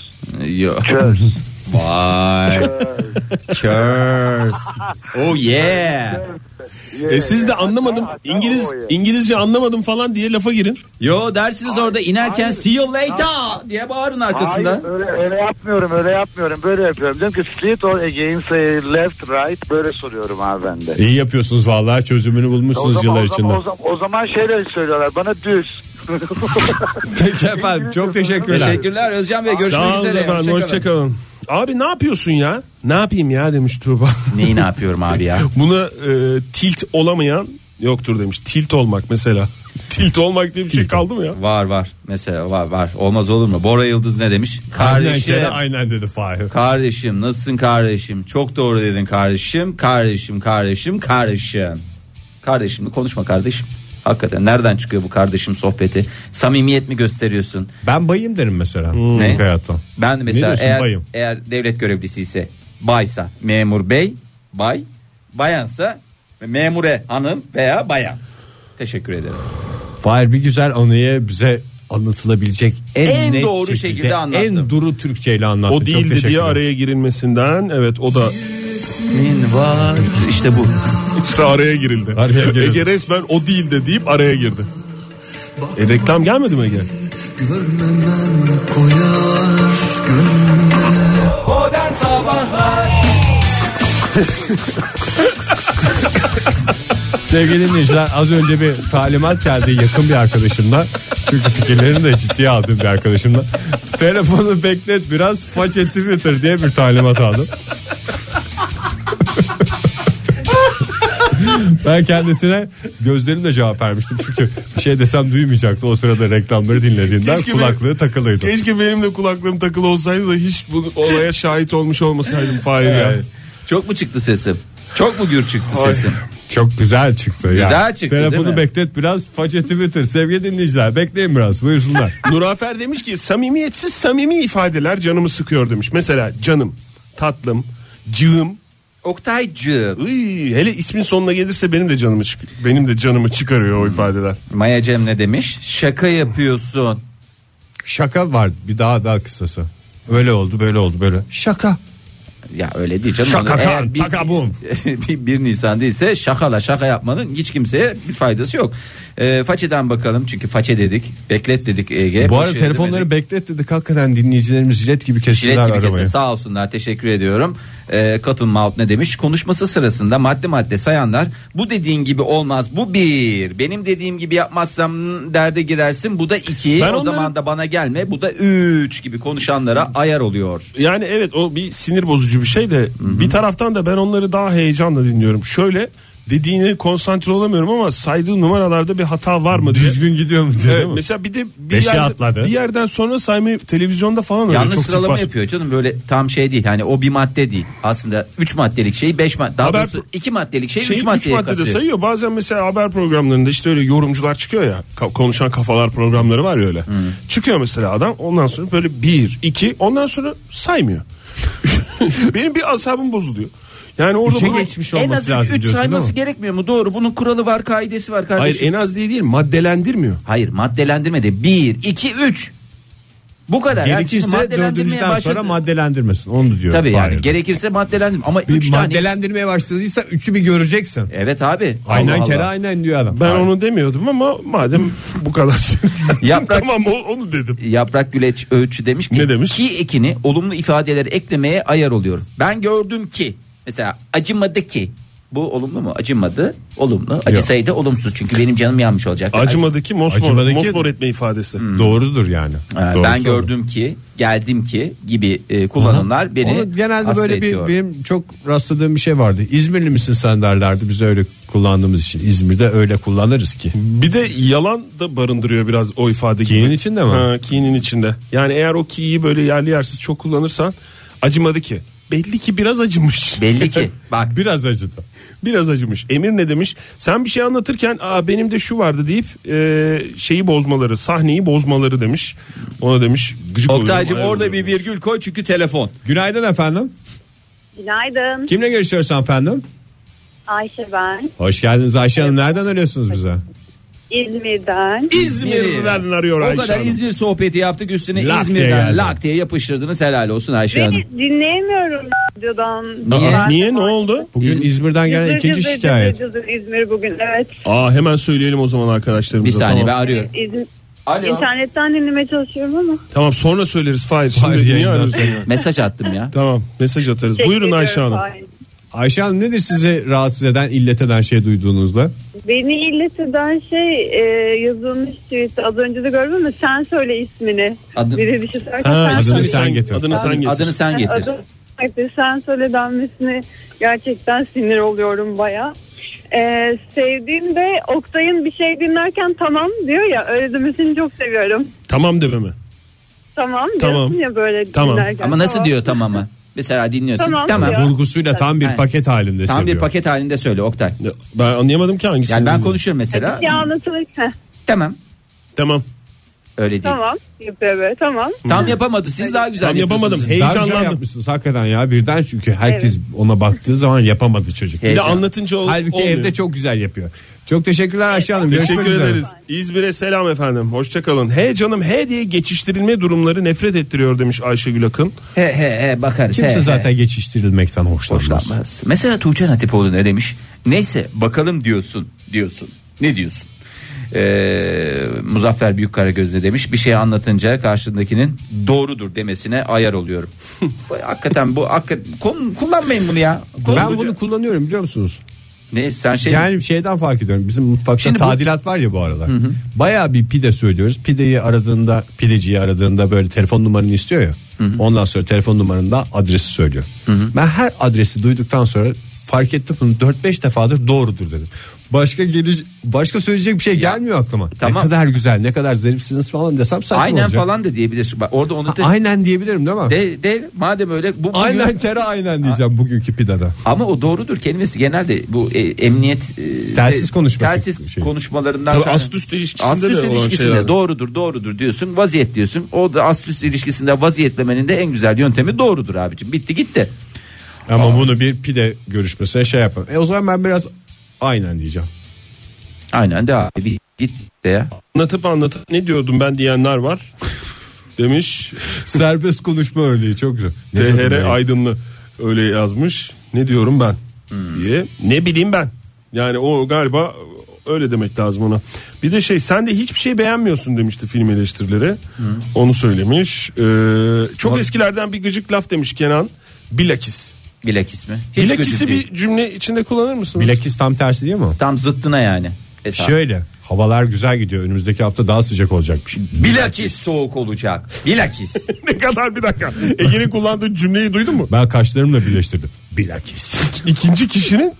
Yok. çöl Vay. Curse. Oh yeah. E, siz de anlamadım İngiliz İngilizce anlamadım falan diye lafa girin. Yo dersiniz orada inerken see you later diye bağırın arkasından. Hayır öyle, öyle yapmıyorum öyle yapmıyorum böyle yapıyorum. Diyorum ki street or against uh, eh, left right böyle soruyorum abi ben de. İyi yapıyorsunuz vallahi çözümünü O bulmuşsunuz zaman, yıllar o, zaman, içinde. o, zaman, o zaman şeyler söylüyorlar bana düz. Peki efendim çok teşekkürler. Teşekkürler Özcan Bey görüşmek Sağ olun üzere. efendim hoşçakalın. Abi ne yapıyorsun ya? Ne yapayım ya demiş Tuğba. Neyi ne yapıyorum abi ya? Buna e, tilt olamayan yoktur demiş. Tilt olmak mesela. tilt olmak diye bir şey kaldı mı ya? Var var mesela var var olmaz olur mu? Bora Yıldız ne demiş? Aynen Kardeşim. kere aynen dedi Fahir. Kardeşim nasılsın kardeşim? Çok doğru dedin kardeşim. Kardeşim kardeşim kardeşim. Kardeşimle konuşma kardeşim. Hakikaten nereden çıkıyor bu kardeşim sohbeti? Samimiyet mi gösteriyorsun? Ben bayım derim mesela. Hmm. Ne? Ne? Hayatta. Ben de mesela diyorsun eğer bayım? eğer devlet görevlisi ise baysa memur bey, bay, bayansa memure hanım veya bayan. Teşekkür ederim. Fahir bir güzel anıyı bize anlatılabilecek en, En net doğru şekilde anlattım. En duru Türkçeyle anlattı. O Çok değildi teşekkür diye ederim. araya girilmesinden evet o da var işte bu. işte araya girildi. Araya girildi. Ege resmen o değildi deyip araya girdi. E, reklam gelmedi mi Ege? Modern Sabahlar Sevgili dinleyiciler az önce bir talimat geldi yakın bir arkadaşımdan. Çünkü fikirlerini de ciddiye aldığım bir arkadaşımdan. Telefonu beklet biraz faç etti Twitter diye bir talimat aldım. Ben kendisine gözlerimle cevap vermiştim çünkü bir şey desem duymayacaktı o sırada reklamları dinlediğinden Keşke bir- kulaklığı takılıydı. Keşke benim de kulaklığım takılı olsaydı da hiç bu olaya şahit olmuş olmasaydım Fahir ya. Çok mu çıktı sesim? Çok mu gür çıktı sesim? Çok güzel çıktı. ya. Güzel çıktı, değil Telefonu mi? beklet biraz façe Twitter. Sevgili dinleyiciler bekleyin biraz buyursunlar. Nurafer demiş ki samimiyetsiz samimi ifadeler canımı sıkıyor demiş. Mesela canım, tatlım, cığım. Oktaycığım. Iy, hele ismin sonuna gelirse benim de canımı çık benim de canımı çıkarıyor o ifadeler. Maya Cem ne demiş? Şaka yapıyorsun. Şaka var bir daha daha kısası. Öyle oldu böyle oldu böyle. Şaka. Ya öyle değil canım. Şaka Onu kan, eğer taka bum. bir, bir Nisan'da ise şakala şaka yapmanın hiç kimseye bir faydası yok. Ee, façeden bakalım çünkü façe dedik. Beklet dedik Ege. Bu arada Boş telefonları edemedik. beklet dedik hakikaten dinleyicilerimiz jilet gibi kestiler şey Jilet gibi kesin aramayı. sağ olsunlar teşekkür ediyorum. Ee, Cotton Mouth ne demiş? Konuşması sırasında madde madde sayanlar bu dediğin gibi olmaz bu bir. Benim dediğim gibi yapmazsam hmm, derde girersin bu da iki. Ben o onları- zaman da bana gelme bu da üç gibi konuşanlara ayar oluyor. Yani evet o bir sinir bozucu bir şey de bir taraftan da ben onları daha heyecanla dinliyorum. Şöyle dediğine konsantre olamıyorum ama saydığı numaralarda bir hata var mı diye. Düzgün gidiyor mu diye. Evet, değil mi? mesela bir de bir, Beşe yerde- atladı. bir yerden sonra saymayı televizyonda falan öyle Yanlış çok tip sıralama var. yapıyor canım böyle tam şey değil. Hani o bir madde değil. Aslında 3 maddelik şeyi 5 madde daha Haber- doğrusu 2 maddelik şeyi 3 Şey, üç maddeye maddede katıyor. sayıyor. Bazen mesela haber programlarında işte öyle yorumcular çıkıyor ya. Ka- konuşan kafalar programları var ya öyle. Hmm. Çıkıyor mesela adam ondan sonra böyle bir, iki ondan sonra saymıyor. Benim bir asabım bozuluyor. Yani orada şey Üçe bana- geçmiş en olması az lazım 3 diyorsun sayması değil mi? gerekmiyor mu? Doğru. Bunun kuralı var, kaidesi var kardeşim. Hayır en az diye değil maddelendirmiyor. Hayır maddelendirme de 1 2 3. Bu kadar. Yani şimdi Gerekirse maddelendirmeye dördüncüden sonra başladı. maddelendirmesin onu diyor. Tabii yani Fahir. gerekirse maddelendirme ama 3 bir tane. maddelendirmeye başladıysa üçü bir göreceksin. Evet abi. Aynen Allah kere Allah. aynen diyor adam. Ben onu demiyordum ama madem bu kadar Yaprak- tamam o- onu dedim. Yaprak Güleç Öğütçü demiş ki Ne demiş? ki ekini olumlu ifadeleri eklemeye ayar oluyor. Ben gördüm ki mesela acımadı ki Bu olumlu mu? Acımadı. Olumlu. Acısaydı olumsuz. Çünkü benim canım yanmış olacak. Acımadaki mosmor, mosmor etme ifadesi. Hmm. Doğrudur yani. Ee, ben gördüm ki, geldim ki gibi e, kullanımlar beni Onu genelde hasta böyle bir, ediyor. benim çok rastladığım bir şey vardı. İzmirli misin sen derlerdi biz öyle kullandığımız için. İzmir'de öyle kullanırız ki. Bir de yalan da barındırıyor biraz o ifade gibi. Ki'nin içinde mi? Ha, ki'nin içinde. Yani eğer o ki'yi böyle yerli yersiz çok kullanırsan acımadı ki. Belli ki biraz acımış. Belli ki. Bak Biraz acıdı. biraz acımış. Emir ne demiş? Sen bir şey anlatırken Aa, benim de şu vardı deyip e, şeyi bozmaları, sahneyi bozmaları demiş. Ona demiş gıcık Oktay'cım oluyorum, orada ayrılıyorum. bir virgül koy çünkü telefon. Günaydın efendim. Günaydın. Kimle görüşüyoruz efendim? Ayşe ben. Hoş geldiniz Ayşe Hanım. Nereden arıyorsunuz bize? İzmir'den. İzmir'den arıyor o Ayşe kadar Hanım. İzmir sohbeti yaptık üstüne Lak diye İzmir'den geldi. lak diye yapıştırdınız helal olsun Ayşe Hanım. Beni dinleyemiyorum radyodan. Aa, Niye ne oldu? Bugün İzmir'den gelen Cızır ikinci cızır şikayet. cızır cızır İzmir bugün evet. Aa hemen söyleyelim o zaman Bir arkadaşlarımıza. saniye ben tamam. arıyorum. İzmir, İnternetten dinlemeye çalışıyorum ama. Tamam sonra söyleriz. Fahir şimdi Fahir niye yayından arıyorsun ya? Mesaj attım ya. Tamam mesaj atarız. Teşekkür Buyurun Ayşe ediyorum, Hanım. Fahir. Ayşe Hanım nedir sizi rahatsız eden, illet eden şey duyduğunuzda? Beni illet eden şey e, yazılmış tweet. Az önce de gördün mü? Sen söyle ismini. Adın- Biri bir şey söylerken Ha, sen adını söyle. sen getir. Adını sen getir. Adını sen getir. Adın- sen söyle denmesine gerçekten sinir oluyorum baya. Ee, sevdiğimde Oktay'ın bir şey dinlerken tamam diyor ya öyle demesini çok seviyorum. Tamam deme mi? Tamam diyorsun Tamam. ya böyle Tamam. dinlerken. Ama nasıl Tamam. diyor tamamı? Mesela dinliyorsun. Tamam. Tamam Yani Ya. Vurgusuyla tam bir Evet. paket halinde Tam bir seviyor. paket halinde söyle Oktay. Ya, Ben anlayamadım ki hangisini. Yani ben dinliyorum. konuşuyorum mesela. Bir şey anlatılır. Heh, Tamam. Tamam. Öyle değil. Tam, Tamam yapıyor böyle tamam. yapamadı. Siz daha güzel Tam yapamadım. yapıyorsunuz. Daha güzel Heyecanlandım. şey yapmışsınız hakikaten ya birden çünkü herkes ona baktığı zaman yapamadı çocuk. Bir de Heyecan. anlatınca ol, Halbuki olmuyor. evde çok güzel yapıyor. Çok teşekkürler Ayşe Hanım. Teşekkür Görüşmek üzere. ederiz. İzmir'e selam efendim. Hoşçakalın. He canım he diye geçiştirilme durumları nefret ettiriyor demiş Ayşegül Akın. He he he bakarız. he, Kimse he. zaten geçiştirilmekten hoşlanmaz. hoşlanmaz. Mesela Tuğçe Hatipoğlu ne demiş? Neyse bakalım diyorsun diyorsun. Ne diyorsun? Ee, Muzaffer Büyükkaragöz ne demiş? Bir şey anlatınca karşındakinin doğrudur demesine ayar oluyorum. Bu Hakikaten bu hakikaten, kon- kullanmayın bunu ya. Ben bunu kullanıyorum biliyor musunuz? ne sen şey Yani şeyden fark ediyorum. Bizim mutfakta Şimdi bu- tadilat var ya bu aralar. Bayağı bir pide söylüyoruz. Pideyi aradığında, pideciyi aradığında böyle telefon numaranı istiyor ya. Ondan sonra telefon numarında adresi söylüyor. Ben her adresi duyduktan sonra fark ettim bunu 4-5 defadır doğrudur dedim. Başka geliş, başka söyleyecek bir şey gelmiyor aklıma. tamam. Ne kadar güzel, ne kadar zarifsiniz falan desem saçma aynen olacak. falan da diyebilirsin. Bak orada onu Ha, da Aynen diyebilirim değil mi? de, de madem öyle bu bugün- aynen tere aynen diyeceğim bugünkü pidada. Ama o doğrudur kelimesi genelde bu e, emniyet e, Telsiz konuşması telsiz şey. konuşmalarından Tabii kaynak- ast üst ilişkisinde Ast de üst olan ilişkisinde şeyler. doğrudur doğrudur diyorsun vaziyet diyorsun. O da ast üst ilişkisinde vaziyetlemenin de en güzel yöntemi doğrudur abicim. Bitti gitti. Ama bunu bir pide görüşmesine şey yapmam. E o zaman ben biraz aynen diyeceğim. Aynen de abi bir gitti de ya. Anlatıp anlatıp ne diyordum ben diyenler var. demiş. Serbest konuşma örneği çok güzel. Ne diyorum THR ya? Aydınlı öyle yazmış. Ne diyorum ben Hmm. diye. Ne bileyim ben. Yani o galiba öyle demek lazım ona. Bir de şey sen de hiçbir şey beğenmiyorsun demişti film eleştirileri. Hmm. Onu söylemiş. Ee, çok eskilerden bir gıcık laf demiş Kenan. Bilakis. Bilakis mi? Hiç Bilakis'i kötü değil. bir cümle içinde kullanır mısınız? Bilakis tam tersi değil mi? tam zıttına yani. Esas. Şöyle havalar güzel gidiyor. Önümüzdeki hafta daha sıcak olacakmış. Bilakis soğuk olacak. Bilakis. ne kadar bir dakika. Ege'nin kullandığı cümleyi duydun mu? Ben kaşlarımla birleştirdim. Bilakis. İkinci kişinin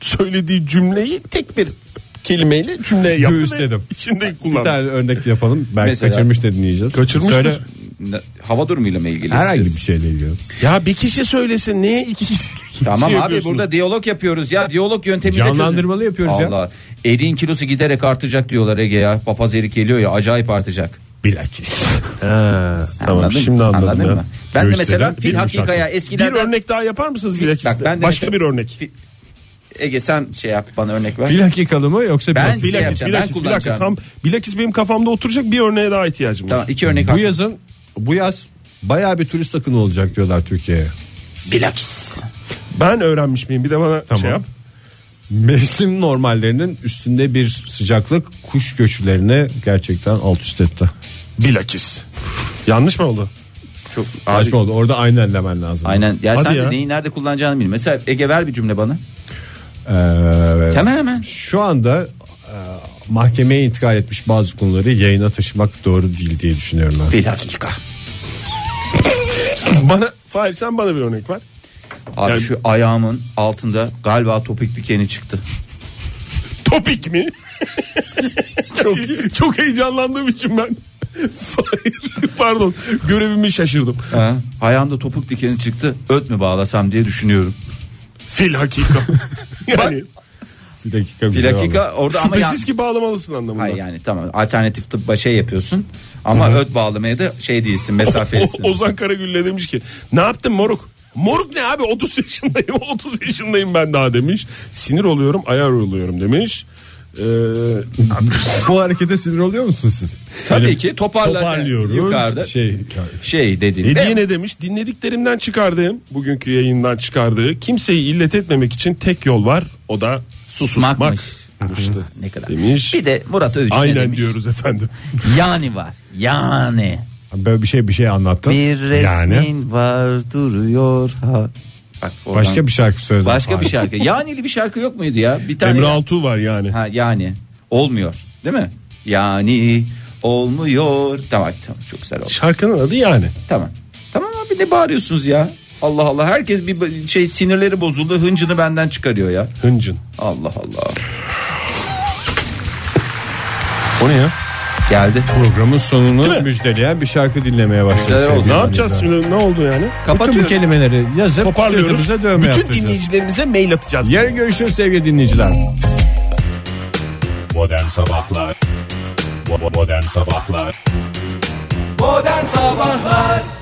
söylediği cümleyi tek bir kelimeyle cümleye yaptı. ve Göğüsledim. İçinde Bir kullandı. tane örnek yapalım. Belki Mesela. kaçırmış da dinleyeceğiz. Kaçırmıştır. Söyle Ne- Hava durumuyla mı ilgili? herhangi bir istiyorsun? şeyle ilgili. Ya bir kişi söylesin niye iki kişi? Tamam şey abi yapıyorsunuz? burada diyalog yapıyoruz ya. Diyalog yöntemiyle Canlandırmalı çözün. yapıyoruz ya. Allah. Eriğin kilosu giderek artacak diyorlar Ege ya. Papaz erik geliyor ya acayip artacak. Bilakis. Ha, tamam Anladın mı? şimdi anladım Anladın ya. mı? Ben de Göğüsleri mesela bir fil yumuşak. hakikaya Bir eskilerden... örnek daha yapar mısınız bilakis? Bak ben de Başka mesela- şey bir örnek. Fi- Ege sen şey yap bana örnek ver. Fil hakikalı mı yoksa Ben- bilakis? Şey Bilakis, yapacağım, ben bilakis, bir dakika. kullanacağım. Tam bilakis benim kafamda oturacak bir örneğe daha ihtiyacım var. Tamam iki örnek Bu al. yazın bu yaz bayağı bir turist akını olacak diyorlar Türkiye'ye. Bilakis. Ben öğrenmiş miyim? Bir de bana Tamam. şey yap. Mevsim normallerinin üstünde bir sıcaklık kuş göçlerini gerçekten alt üst etti. Bilakis. Yanlış mı oldu? Çok Saçma oldu. Orada aynen demen lazım. Aynen. Ya Hadi sen ya. de neyi nerede kullanacağını bil. Mesela Ege ver bir cümle bana. hemen hemen. Şu anda e, mahkemeye intikal etmiş bazı konuları yayına taşımak doğru değil diye düşünüyorum ben. Bir dakika. Bana Fahir sen bana bir örnek ver. Abi Yani- şu ayağımın altında galiba topik dikeni çıktı. Topik mi? çok çok heyecanlandığım için ben Fahir, pardon görevimi şaşırdım. Ha, ayağımda topuk dikeni çıktı. Öt mü bağlasam diye düşünüyorum. Fil hakika. yani Bir dakika. Bir güzel oldu. dakika orada ama şüphesiz yan- ki bağlamalısın anlamında. Hayır yani tamam alternatif tıbba şey yapıyorsun ama öt bağlamaya da şey değilsin mesafelisin. O- Ozan Karagül de demiş ki ne yaptın moruk? Moruk ne abi 30 yaşındayım 30 yaşındayım ben daha demiş. Sinir oluyorum ayar oluyorum demiş. Ee, Bu harekete sinir oluyor musunuz siz? Tabii ki toparlar. Toparlıyoruz. Yukarıda Şey, şey dediğinde. hediye ne demiş? Dinlediklerimden çıkardığım bugünkü yayından çıkardığı kimseyi illet etmemek için tek yol var o da susmak. Susmakmış. Ne kadar. Demiş. Bir de Murat Övüç ne Aynen demiş? diyoruz efendim. Yani var. Yani. Böyle bir şey bir şey anlattın. Bir resmin var duruyor. Ha. Bak, oradan- Başka bir şarkı söyledin. Başka Abi. bir şarkı. Yani'li bir şarkı yok muydu ya? Bir tane. Emre Altuğ var yani. Ha yani. Olmuyor. Değil mi? Yani olmuyor. Tamam tamam çok güzel oldu. Şarkının adı yani. Tamam. Tamam abi ne bağırıyorsunuz ya? Allah Allah herkes bir şey sinirleri bozuldu. Hıncını benden çıkarıyor ya. Hıncın. Allah Allah. O ne ya? Geldi. Programın Değil mi? sonunu müjdeleyen bir şarkı dinlemeye başladık. Müjdeler oldu. sevgili Ne yapacağız dinleyiciler. şimdi ne oldu yani? Bütün bu Kapatıyoruz. kelimeleri yazıp Toparlıyoruz. sırtımıza dövme Bütün yaptıracağız. dinleyicilerimize mail atacağız. Yarın görüşürüz sevgili dinleyiciler. Modern Sabahlar Bo- Modern Sabahlar Modern Sabahlar